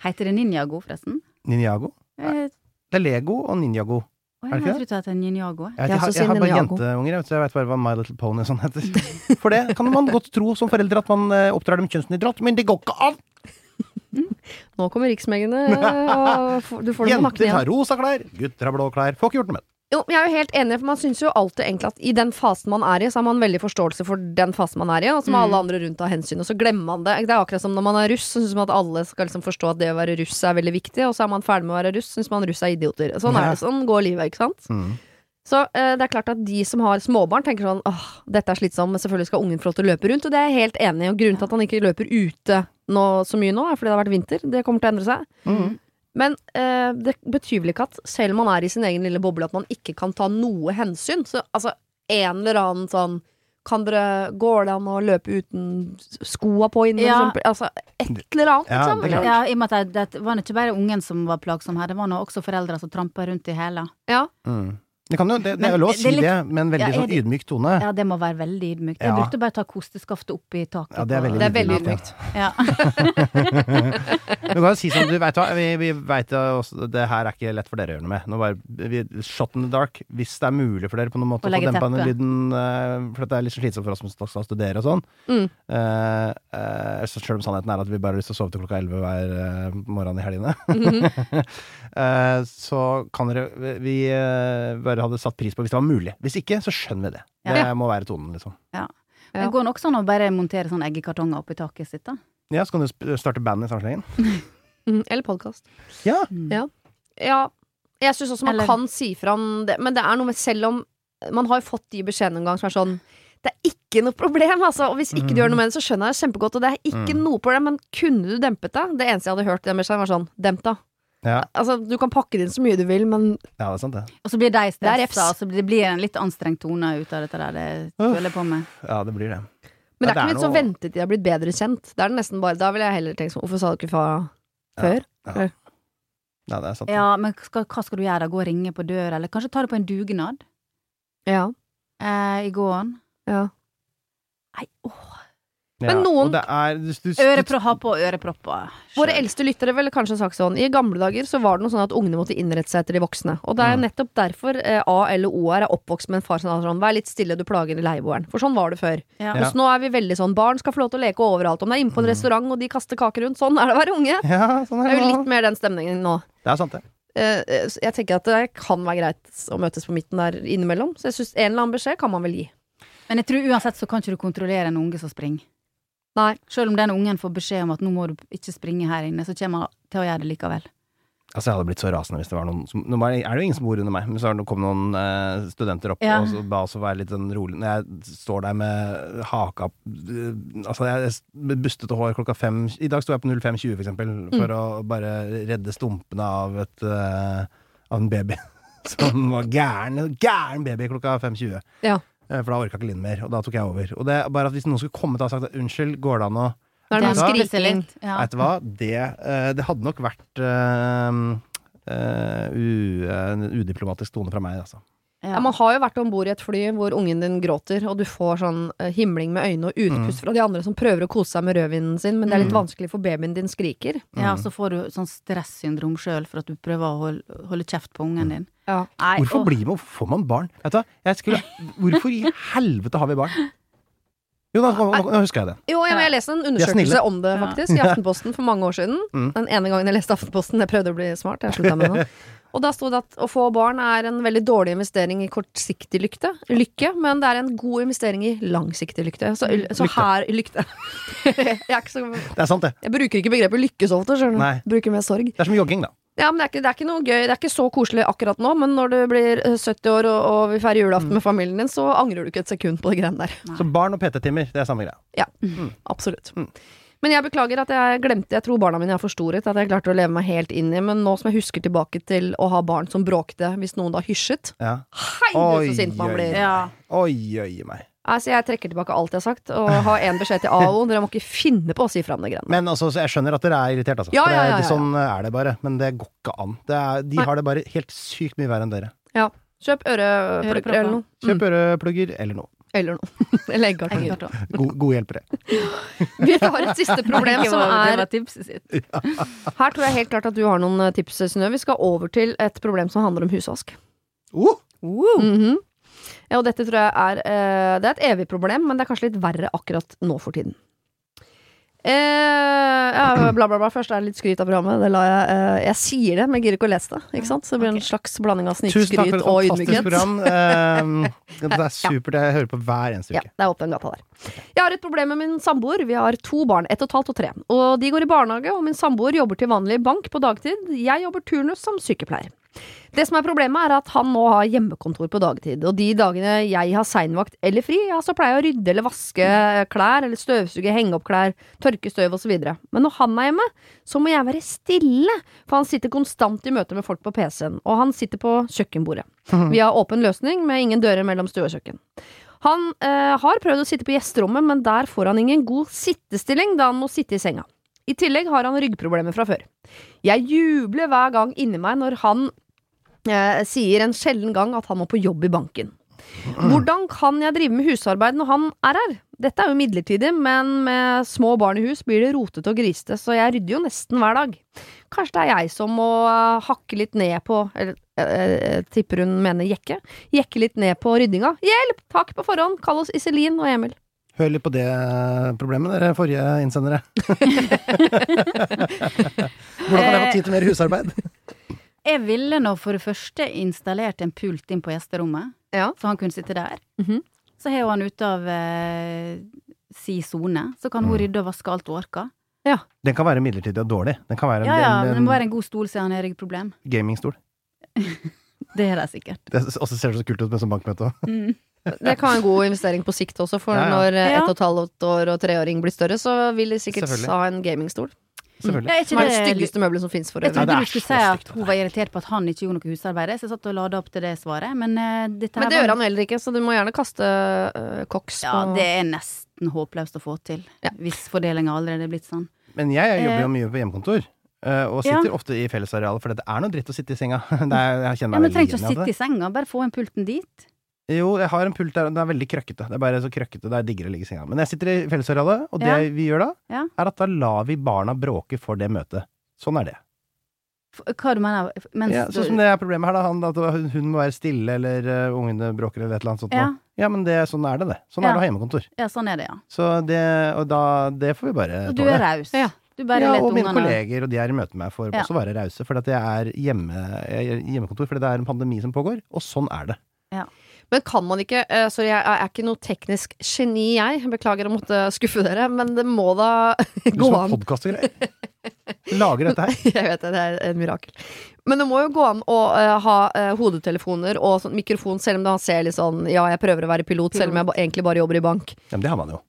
Heter det Ninjago, forresten?
Ninjago?
Eh,
Det er Lego og Ninjago.
Å,
Er
ja,
det
jeg
ikke
trodde det het Ninjago. jeg.
Ja,
Jeg, vet, jeg,
så
har-
sier
jeg har bare
Ninjago.
jenteunger, jeg vet, så jeg vet bare hva My Little Pony og sånn heter. For det kan man godt tro som foreldre at man eh, oppdrar dem kjønnsnøytralt, men det går ikke an!
Nå kommer riksmengene, eh, og f- du får det på nakken
Jenter
igjen.
har rosa klær, gutter har blå klær. Får ikke gjort noe med det.
Jo, jeg er jo helt enig, for man syns jo alltid egentlig at i den fasen man er i, så har man veldig forståelse for den fasen man er i, og så må alle andre rundt ta hensyn, og så glemmer man det. Det er akkurat som når man er russ, så syns man at alle skal liksom forstå at det å være russ er veldig viktig, og så er man ferdig med å være russ, syns man russ er idioter. Sånn er det, sånn går livet, ikke sant?
Mm.
Så eh, det er klart at de som har småbarn, tenker sånn åh, dette er slitsomt, men selvfølgelig skal ungen få lov til å løpe rundt, og det er jeg helt enig i. Og grunnen til at han ikke løper ute nå, så mye nå, er fordi det har vært vinter. Det kommer til å endre seg.
Mm.
Mhm.
Men eh, det betyr vel ikke at selv om man er i sin egen lille boble, at man ikke kan ta noe hensyn. Så altså, en eller annen sånn kan dere, Går det an å løpe uten skoa på inne?
Ja.
for eksempel? Altså, et eller annet,
Ja,
liksom.
det er klart.
Ja, i og med at det, det var nå ikke bare ungen som var plagsom her, det var nå også foreldra som trampa rundt i hæla.
Ja.
Det, kan jo, det, det er jo lov å
det er
si
litt-
det, med en veldig
Ja, er
sånn
det-
ydmyk tone.
Ja, det må være veldig ydmykt. Jeg
Ja.
brukte bare å ta kosteskaftet opp i taket.
Ja, det er
på-
veldig,
Det er veldig
ydmykt. ja.
Ja.
Men Du kan jo si sånn, du vet hva, vi, vi vet jo også, det her er ikke lett for dere å gjøre noe med. Nå bare, vi, shot in the dark, hvis det er mulig for dere på noen måte å
Og
få
legge
dempa den
teppe.
lyden, eh, for det er litt så slitsomt for oss som skal studere og sånn.
Mm.
Eh, eh, så selv om sannheten er at vi bare har lyst til å sove til klokka 11 hver eh, morgen i helgene. Eh, så kan dere, vi- vi eh, bare hadde satt pris på hvis det var mulig. Hvis ikke, så skjønner vi det.
Ja.
Det må være tonen, liksom.
Men Det går nok sånn å bare montere sånne eggekartonger oppi taket sitt, da.
Ja, så kan du sp- starte band i samme slengen.
Mm, eller podkast.
Ja.
Ja, jeg syns også man
Eller-
kan si fra om det, men det er noe med selv om Man har jo fått de beskjedene en gang som er sånn Det er ikke noe problem, altså. Og hvis ikke du gjør noe med det, så skjønner jeg det kjempegodt, og det er ikke
Mm.
noe problem, men kunne du dempet deg? Det eneste jeg hadde hørt i den beskjeden, var sånn Demp deg.
Ja.
Altså, du kan pakke det inn så mye du vil, men
ja, det er sant, det.
Og så blir de
Det er refs.
stressa, og så blir- det blir en litt anstrengt tone ut av dette der. Det
Uff.
føler jeg på med.
Ja, det blir det.
Men
Ja,
det er ikke vits å
noe-
vente til de har blitt bedre kjent. Det er det nesten bare Da ville jeg heller tenkt sånn Hvorfor sa du ikke fra før?
Ja, det er sant.
Ja, men skal, hva skal du gjøre da? Gå og ringe på døra, eller kanskje ta det på en dugnad
Ja.
eh, i gården?
ja.
Nei, åh.
Ja,
Men noen-
og det er, du, du, du,
Ørepro, ha på ørepropper.
Våre eldste lyttere ville kanskje sagt sånn I gamle dager så var det noe sånn at ungene måtte innrette seg etter de voksne. Og det er jo nettopp derfor eh, A eller O er oppvokst med en far som sa sånn Vær litt stille, du plager leieboeren. For sånn var det før.
Ja.
Ja.
Mens nå er vi veldig sånn Barn skal få lov til å leke overalt. Om det er inne på en restaurant og de kaster kaker rundt. Sånn er det å være unge.
ja, sånn
Det er
er det.
jo
nå.
litt mer den stemningen nå.
Det er sant, det.
Eh, eh, så jeg tenker at det kan være greit å møtes på midten der innimellom. Så jeg syns en eller annen beskjed kan man vel gi.
Men jeg tror uansett så kan ikke du kontrollere en unge som springer.
Nei.
Selv om den ungen får beskjed om at nå må du ikke springe her inne, så kommer han til å gjøre det likevel.
Altså, jeg hadde blitt så rasende hvis det var noen som Nå er det er det jo ingen som bor under meg, men så har det- kom noen eh, studenter opp
Ja.
og så ba oss å være litt sånn rolig Når jeg står der med haka opp, eh, Altså, jeg jeg bustete hår klokka fem I dag sto jeg på 05.20, for eksempel,
Mm.
for å bare redde stumpene av et eh, Av en baby. Som var gæren. Gæren baby klokka 5.20.
Ja.
Eh, For da orka ikke Linn mer, og da tok jeg over. Og det er bare at Hvis noen skulle komme til og sagt unnskyld, går det an å
Nå er det
Ja.
noe skriking.
Ja.
Vet du hva? Det, eh, det hadde nok vært eh, eh, u, eh, en udiplomatisk tone fra meg, altså.
Ja, man har jo vært om bord i et fly hvor ungen din gråter, og du får sånn eh, himling med øynene og utpust fra de andre som prøver å kose seg med rødvinen sin, men det er litt vanskelig for babyen din skriker.
Ja,
Mm.
så får du sånn stressyndrom sjøl for at du prøver å holde, holde kjeft på ungen din.
Ja.
Nei,
Hvorfor
åh.
blir man, hvorfor får man barn? Vet du hva? Jeg skulle, hvorfor i helvete har vi barn? Jo, nå, nå, nå husker jeg det.
Jo, ja, men jeg leste en undersøkelse
snille.
om det, faktisk, i Aftenposten for mange år siden.
Mm.
Den ene gangen jeg leste Aftenposten, jeg prøvde å bli smart, jeg slutta med det. nå. Og da sto det at å få barn er en veldig dårlig investering i kortsiktig lykte, lykke, men det er en god investering i langsiktig lykte. Så, så
Lykte.
her lykte Jeg er ikke så
Det er sant, det.
Jeg bruker ikke begrepet lykke så ofte, skjønner
Nei.
du. Bruker mer sorg.
Det er som jogging, da.
Ja, men det er, ikke, det er ikke noe gøy. Det er ikke så koselig akkurat nå, men når du blir eh, 70 år og, og vil feire julaften
Mm.
med familien din, så angrer du ikke et sekund på de greiene der.
Så barn og PT-timer, det er samme greia.
Absolutt.
Mm.
Men jeg beklager at jeg glemte Jeg tror barna mine er for store til at jeg klarte å leve meg helt inn i, men nå som jeg husker tilbake til å ha barn som bråkte hvis noen da hysjet
Ja.
Hei,
Oi,
så sint man
oi.
blir!
Ja.
Oi, oi meg.
Nei, så jeg trekker tilbake alt jeg har sagt, og har én beskjed til AO. Dere må ikke finne på å si fra om de greiene.
Men altså, så jeg skjønner at dere er irritert, altså.
Ja,
For det-
ja, ja, ja, ja.
Sånn er det bare. Men det går ikke an. Det er, de
Nei.
har det bare helt sykt mye verre enn dere.
Ja. Kjøp øreplugger
Ørepropper.
eller noe.
Kjøp øreplugger eller noe.
Eller noe. Eller
Jeg
eggartinger.
klarte å-
God, gode hjelpere.
Vi har et siste problem
Det
som
var- Det
er
var tipset sitt.
Her tror jeg helt klart at du har noen eh, tips, Synnøve. Vi skal over til et problem som handler om husvask.
Oh!
Mhm. ja, og dette tror jeg er eh, Det er et evig problem, men det er kanskje litt verre akkurat nå for tiden. Eh, ja, bla, bla, bla. Først er det litt skryt av programmet. Det lar jeg, eh, jeg sier det, men jeg gidder ikke å lese det. Ikke sant? Så det blir en slags blanding av
Tusen takk for
snikskryt
et
og
fantastisk
ydmykhet.
program. Eh, det er supert. Jeg hører på hver eneste
Ja,
uke.
det er opp den gata der. Jeg har et problem med min samboer. Vi har to barn, ett og et halvt og tre. Og de går i barnehage, og min samboer jobber til vanlig bank på dagtid. Jeg jobber turnus som sykepleier. Det som er problemet, er at han nå har hjemmekontor på dagtid. Og de dagene jeg har seinvakt eller fri, ja, så pleier jeg å rydde eller vaske klær, eller støvsuge, henge opp klær, tørke støv osv. Men når han er hjemme, så må jeg være stille, for han sitter konstant i møte med folk på PC-en. Og han sitter på kjøkkenbordet. Vi har åpen løsning med ingen dører mellom stue og kjøkken. Han eh, har prøvd å sitte på gjesterommet, men der får han ingen god sittestilling da han må sitte i senga. I tillegg har han ryggproblemer fra før. Jeg jubler hver gang inni meg når han eh, sier en sjelden gang at han må på jobb i banken. Hvordan kan jeg drive med husarbeid når han er her? Dette er jo midlertidig, men med små barn i hus blir det rotete og grisete, så jeg rydder jo nesten hver dag. Kanskje det er jeg som må eh, hakke litt ned på Eller eh, eh, tipper hun mener jekke. Jekke litt ned på ryddinga. Hjelp! Takk på forhånd. Kall oss Iselin og Emil.
Hør litt på det eh, problemet, dere forrige innsendere. Hvordan kan jeg få tid
Eh,
til mer husarbeid?
Jeg ville nå for det første installert en pult inn på gjesterommet,
Ja.
så han kunne sitte der.
Mhm.
Så har jo han ute av eh, si sone, så kan
Mm.
hun rydde og vaske alt hun orker.
Den kan være midlertidig og dårlig. Den kan være en,
Ja ja,
en,
men det
en
må være en god stol siden han har ryggproblem.
gamingstol.
Det har de sikkert.
Det og så ser det så kult ut med sånn bankmøte òg.
Det kan være en god investering på sikt også, for
Ja, ja.
når eh,
Ja.
ett og et halvt år og treåring blir større, så vil de sikkert
Selvfølgelig.
ha en gamingstol.
Ja,
Selvfølgelig.
er ikke
Som er det
det litt-
styggeste møbelet som fins for
Jeg
øvrig.
Nei, det
trodde
er
du
så
skulle si at
stygt,
hun var irritert på at han ikke gjorde noe husarbeid, så jeg satt og lada opp til det svaret, men eh, dette
Men
her
det
var-
gjør han heller ikke, så du må gjerne kaste eh, koks
Ja,
på
det er nesten håpløst å få til,
Ja.
hvis fordelinga allerede er blitt sånn.
Men jeg jobber
Eh.
jo mye på hjemmekontor. eh, Og
Ja.
sitter ofte i fellesarealet, for det er noe dritt å sitte i senga. Det er, jeg
Ja,
kjenner
men
meg veldig
trenger ikke å
igjen i
sitte
det.
i senga, bare få en pulten dit.
Jo, jeg har en pult der, og den er veldig krøkkete. Det er bare så krøkkete, det er diggere å ligge i senga. Men jeg sitter i fellesarealet, og det
Ja.
vi gjør da,
Ja.
er at da lar vi barna bråke for det møtet. Sånn er det.
F- Hva du mener mens
Ja,
du
sånn som det er problemet her, da. Han, at hun- hun må være stille, eller eh, ungene bråker, eller et eller annet sånt.
ja,
nå. ja men det, sånn er det, det. Sånn
Ja.
er det å ha hjemmekontor.
ja, sånn er det, ja.
Så det, og da, det får vi bare
Og du er
tåle.
raus.
Ja.
Du bare
Ja,
lar
og mine
ungene
kolleger, og de er i møte med meg, får
Ja.
også være rause. For at jeg er hjemme, jeg er hjemmekontor, fordi det er en pandemi som pågår. Og sånn er det.
Men kan man ikke eh, Sorry, jeg er ikke noe teknisk geni, jeg. Beklager å måtte skuffe dere, men det må da
Du
gå
som har
an.
podkast og greier. Lager dette her.
Jeg vet det, det er et mirakel. Men det må jo gå an å eh, ha eh, hodetelefoner og sånn mikrofon, selv om han ser litt sånn Ja, jeg prøver å være pilot, selv om jeg ba egentlig bare jobber i bank.
Ja, men det har man jo.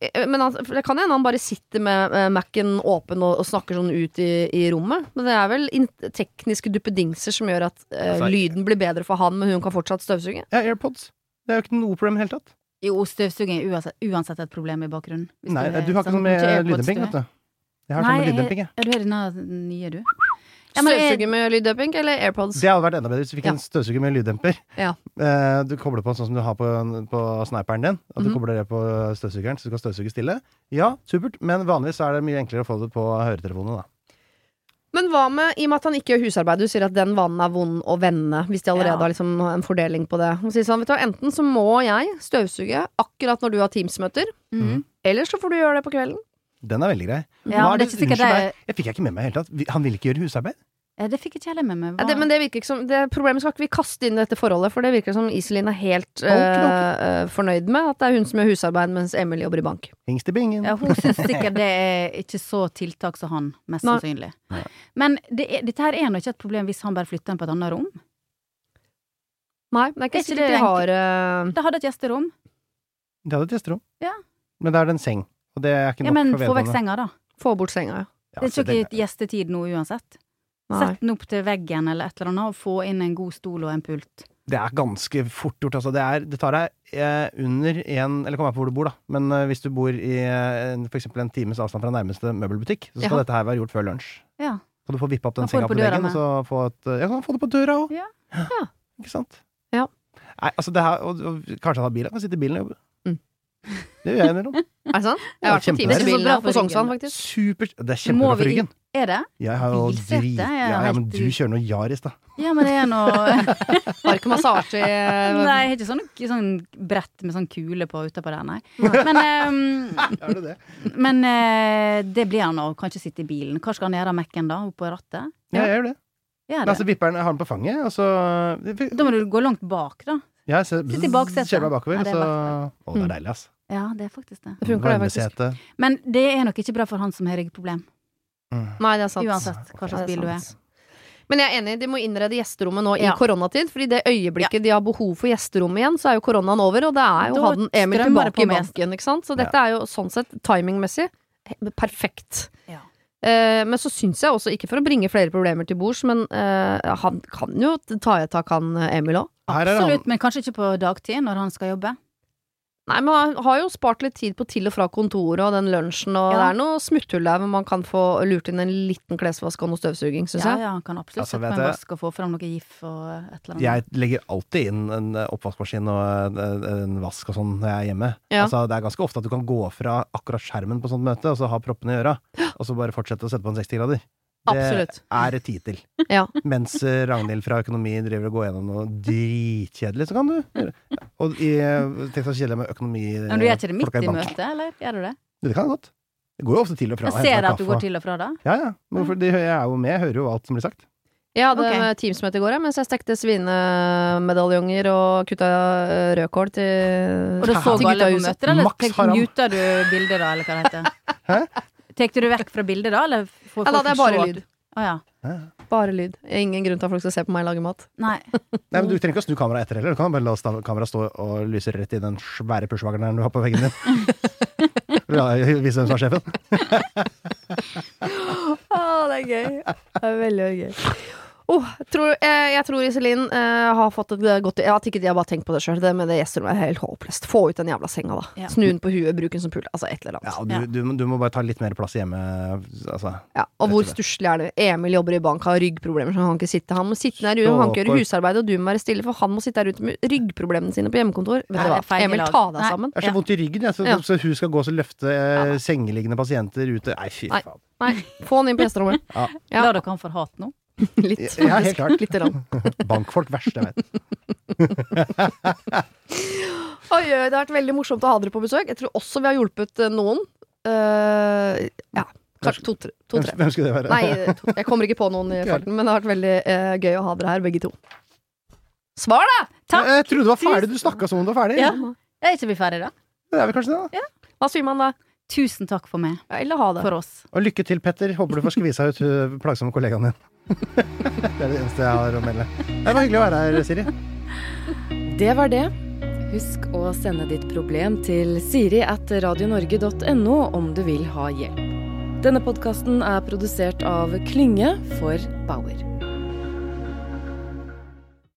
Eh, Men han, for det kan hende han bare sitter med eh, Mac-en åpen og, og snakker sånn ut i, i rommet. Men det er vel in tekniske duppedingser som gjør at eh,
Altså,
lyden blir bedre for han, men hun kan fortsatt støvsuge.
Ja, AirPods. Det er jo ikke noe problem i det hele tatt.
Jo, støvsuging er uansett, uansett et problem i bakgrunnen. Hvis
Nei, du har ikke sånn med
AirPods,
lyddemping,
du
vet
har.
du. Jeg har sånn med
Nei,
lyddemping, jeg.
Er du helt den nye, du? Ja, men jeg-
Støvsuger med lyddumping eller AirPods?
Det hadde vært enda bedre hvis du fikk
Ja.
en støvsuger med lyddemper.
Ja.
Eh, Du kobler på sånn som du har på, på sniperen din. At du
Mhm.
kobler det på støvsugeren, så du kan støvsuge stille. Ja, supert, men vanligvis er det mye enklere å få det på høretelefonene, da.
Men hva med, i og med at han ikke gjør husarbeid, du sier at den vanen er vond å vende, hvis de allerede
Ja.
har liksom en fordeling på det. Hun sier sånn, vet du hva, enten så må jeg støvsuge akkurat når du har Teams-møter,
Mhm.
eller så får du gjøre det på kvelden.
Den er veldig grei. Hva
Ja, men
er
det, er
det-
ikke sikkert
unnskyld
det,
meg, Jeg fikk jeg ikke med meg i det hele tatt. Vi- Han vil ikke gjøre husarbeid?
Ja, det fikk ikke jeg heller med meg.
Ja,
Hva-
det, men det virker ikke som, det problemet skal ikke vi kaste inn i dette forholdet, for det virker som Iselin er helt
ok.
eh, eh, fornøyd med at det er hun som gjør husarbeid, mens Emil jobber i bank.
Hingst i bingen.
Ja, hun syns sikkert det er ikke så tiltak som han, mest
Nei.
sannsynlig.
Nei.
Men det er, dette her er nå ikke et problem hvis han bare flytter den på et annet rom.
Nei, det er ikke
Er ikke
sikkert
det
de
enkelt?
har eh,
Da hadde et gjesterom.
Det hadde et gjesterom.
Ja.
Men da er det en seng. Og det er ikke nok
Ja, men
for
få vekk
vedkommende.
senga, da.
få bort senga. ja.
Ja,
Det er
så
jo ikke gjestetid nå uansett.
Nei.
Sett den opp til veggen eller et eller annet, og få inn en god stol og en pult.
Det er ganske fort gjort, altså. Det, er, det tar deg eh, under en Eller kommer an på hvor du bor, da. Men eh, hvis du bor i eh, en- for eksempel en times avstand fra nærmeste møbelbutikk, så skal
Ja.
dette her være gjort før lunsj.
Ja.
Kan du få vippa opp
Da
den
får
senga
du
på
på døra
veggen, og
med.
så få et eh, Ja, kan få det på døra òg.
Ja.
Ja.
Ikke sant?
Ja.
Nei, altså det her og, og kanskje han har bil, han kan sitte i bilen og jobbe.
Mm.
Det gjør jeg innimellom.
Er det sånn? Jeg
Ja,
har vært på
kjempe-
Teams i
Det
er så
bilen
bra
på
for ryggen.
Songsan, faktisk.
Supert. Det er
Må
kjempebra for
vi
ryggen.
Er det?
Jeg har jo
Bilsete,
drit...
jeg
Ja,
har
ja,
helt
men du
drit-
kjører noe Yaris, da.
Ja, men det er noe
Har ikke massasje eh,
Nei,
i
jeg har ikke sånn, sånn brett med sånn kule på utapå der, nei. Men, ehm,
Er det det?
men eh, det blir han nå. Kan ikke sitte i bilen. Hva skal han gjøre av Mac-en da? Oppå rattet?
Ja, jeg gjør det.
Ja,
Nei,
det.
altså vipper den, jeg har den på fanget, og så
Da må du gå langt bak, da.
Ja, Jeg ser,
Sitt i baksetet.
Kjører meg bakover,
Ja, det er
så Å, det er deilig, ass.
Ja, det er faktisk det.
Det funker det, faktisk.
Varmesete.
Men det er nok ikke bra for han som har ryggproblem.
Mm.
Nei, det er sant.
Uansett hva
Ja, det er
slags bil du er.
sant. Men jeg er enig, de må innrede gjesterommet nå i
Ja.
koronatid. Fordi det øyeblikket de har behov for gjesterommet igjen, så er jo koronaen over. Og det er jo
Da
Hadden Emil
strømmer det
tilbake i
på med gjester.
banken, ikke sant. Så dette er jo sånn sett timingmessig he- perfekt.
Ja.
Eh, men så syns jeg også, ikke for å bringe flere problemer til bords, men eh, han kan jo ta i et tak, han eh, Emil òg.
Her er
Absolutt,
han.
men kanskje ikke på dagtid når han skal jobbe.
Nei, men han har jo spart litt tid på til og fra kontoret og den lunsjen, og det
Ja.
er noe smutthull der hvor man kan få lurt inn en liten klesvask og noe støvsuging, syns
Ja,
jeg.
ja, han kan absolutt
Altså,
sette på
vet
en
jeg-
vask og få fram noe gif og et eller annet.
Jeg legger alltid inn en eh, oppvaskmaskin og en, en vask og sånn når jeg er hjemme.
Ja.
Altså, det er ganske ofte at du kan gå fra akkurat skjermen på sånt møte, og så ha proppene i øra, og så bare fortsette å sette på en 60-grader. Det
Absolutt.
er det tid til.
Ja.
Mens eh, Ragnhild fra økonomi driver og går gjennom noe dritkjedelig, så kan du gjøre Og i, eh, tenk så kjedelig med økonomi
Men du gjør ikke det
folka
midt i
banken.
møtet, eller? Gjør du det?
Det kan jeg godt. Det går jo ofte til og fra.
Jeg
henter
ser
meg
at du
kaffe og-
går til og fra da.
Ja, ja. Men Hvorfor, de, hø- jeg er jo med, jeg hører jo alt som blir sagt.
Jeg hadde
Ok.
Teams-møte i går jeg, mens jeg stekte svinemedaljonger og kutta eh, rødkål til
Og da så
til
alle
gutta i
på
huset.
møter, eller
Max
tek-
Haram.
muter du bildet da, eller hva det heter? Tek du det vekk fra bildet da, eller får
Ja, da,
folk
det er
se
bare
at-
lyd.
Å ja.
Bare lyd. Ingen grunn til at folk skal se på meg lage mat.
Nei.
Nei, men Du trenger ikke å snu kameraet etter heller. Du kan bare la sta- kameraet stå og lyse rett i den svære pushwageren du har på veggen din. La vise hvem som er sjefen.
Å, det er gøy. Det er veldig gøy. Oh, tror, eh, jeg tror Iselin eh, har fått et godt Jeg at ikke de har bare tenkt på det sjøl. Det med det gjesterommet er helt håpløst. Få ut den jævla senga, da.
Ja.
Snu den på huet, bruk den som pult. Altså, et eller annet. Ja.
Ja, og du, du, må- du må bare ta litt mer plass hjemme. Altså.
Og hvor
Rett og slett.
stusslig er det? Emil jobber i bank, har ryggproblemer, så han kan ikke sitte. Han må sitte der ute, han kan ikke gjøre husarbeid, og du må være stille, for han må sitte der ute med ryggproblemene sine på hjemmekontor. Vet
Nei,
du hva,
det er feil
Emil,
lag.
ta deg
Nei.
sammen.
Jeg har så
Ja.
vondt i ryggen, jeg. Så,
Ja.
så hun skal gå og løfte eh, sengeliggende pasienter ute. Nei, fy
Nei.
faen.
Nei, få han inn på gjesterommet.
Ja.
Ja.
La dere han for hat nå.
Litt.
Ja, helt klart.
Litt rann.
Bankfolk verst, jeg vet.
Oi, oi, det har vært veldig morsomt å ha dere på besøk. Jeg tror også vi har hjulpet eh, noen. Eh, ja, kanskje to-tre. To,
Hvem,
tre.
hvem skulle det være?
Nei, to, jeg kommer ikke på noen i farten, men det har vært veldig eh, gøy å ha dere her, begge to. Svar, da!
Takk!
Jeg trodde du var ferdig. Du snakka som om du var ferdig.
Ja. Er ikke vi ferdige da?
Det er vel kanskje det, da.
Hva sier man da?
Tusen takk for meg.
Ja, Eller ha det.
For oss.
Og lykke til, Petter. Håper du får skvisa ut hun plagsomme kollegaen din. det er det eneste jeg har å melde. Det var hyggelig å være her, Siri.
Det var det. Husk å sende ditt problem til siri at radionorge.no om du vil ha hjelp. Denne podkasten er produsert av Klynge for Bauer.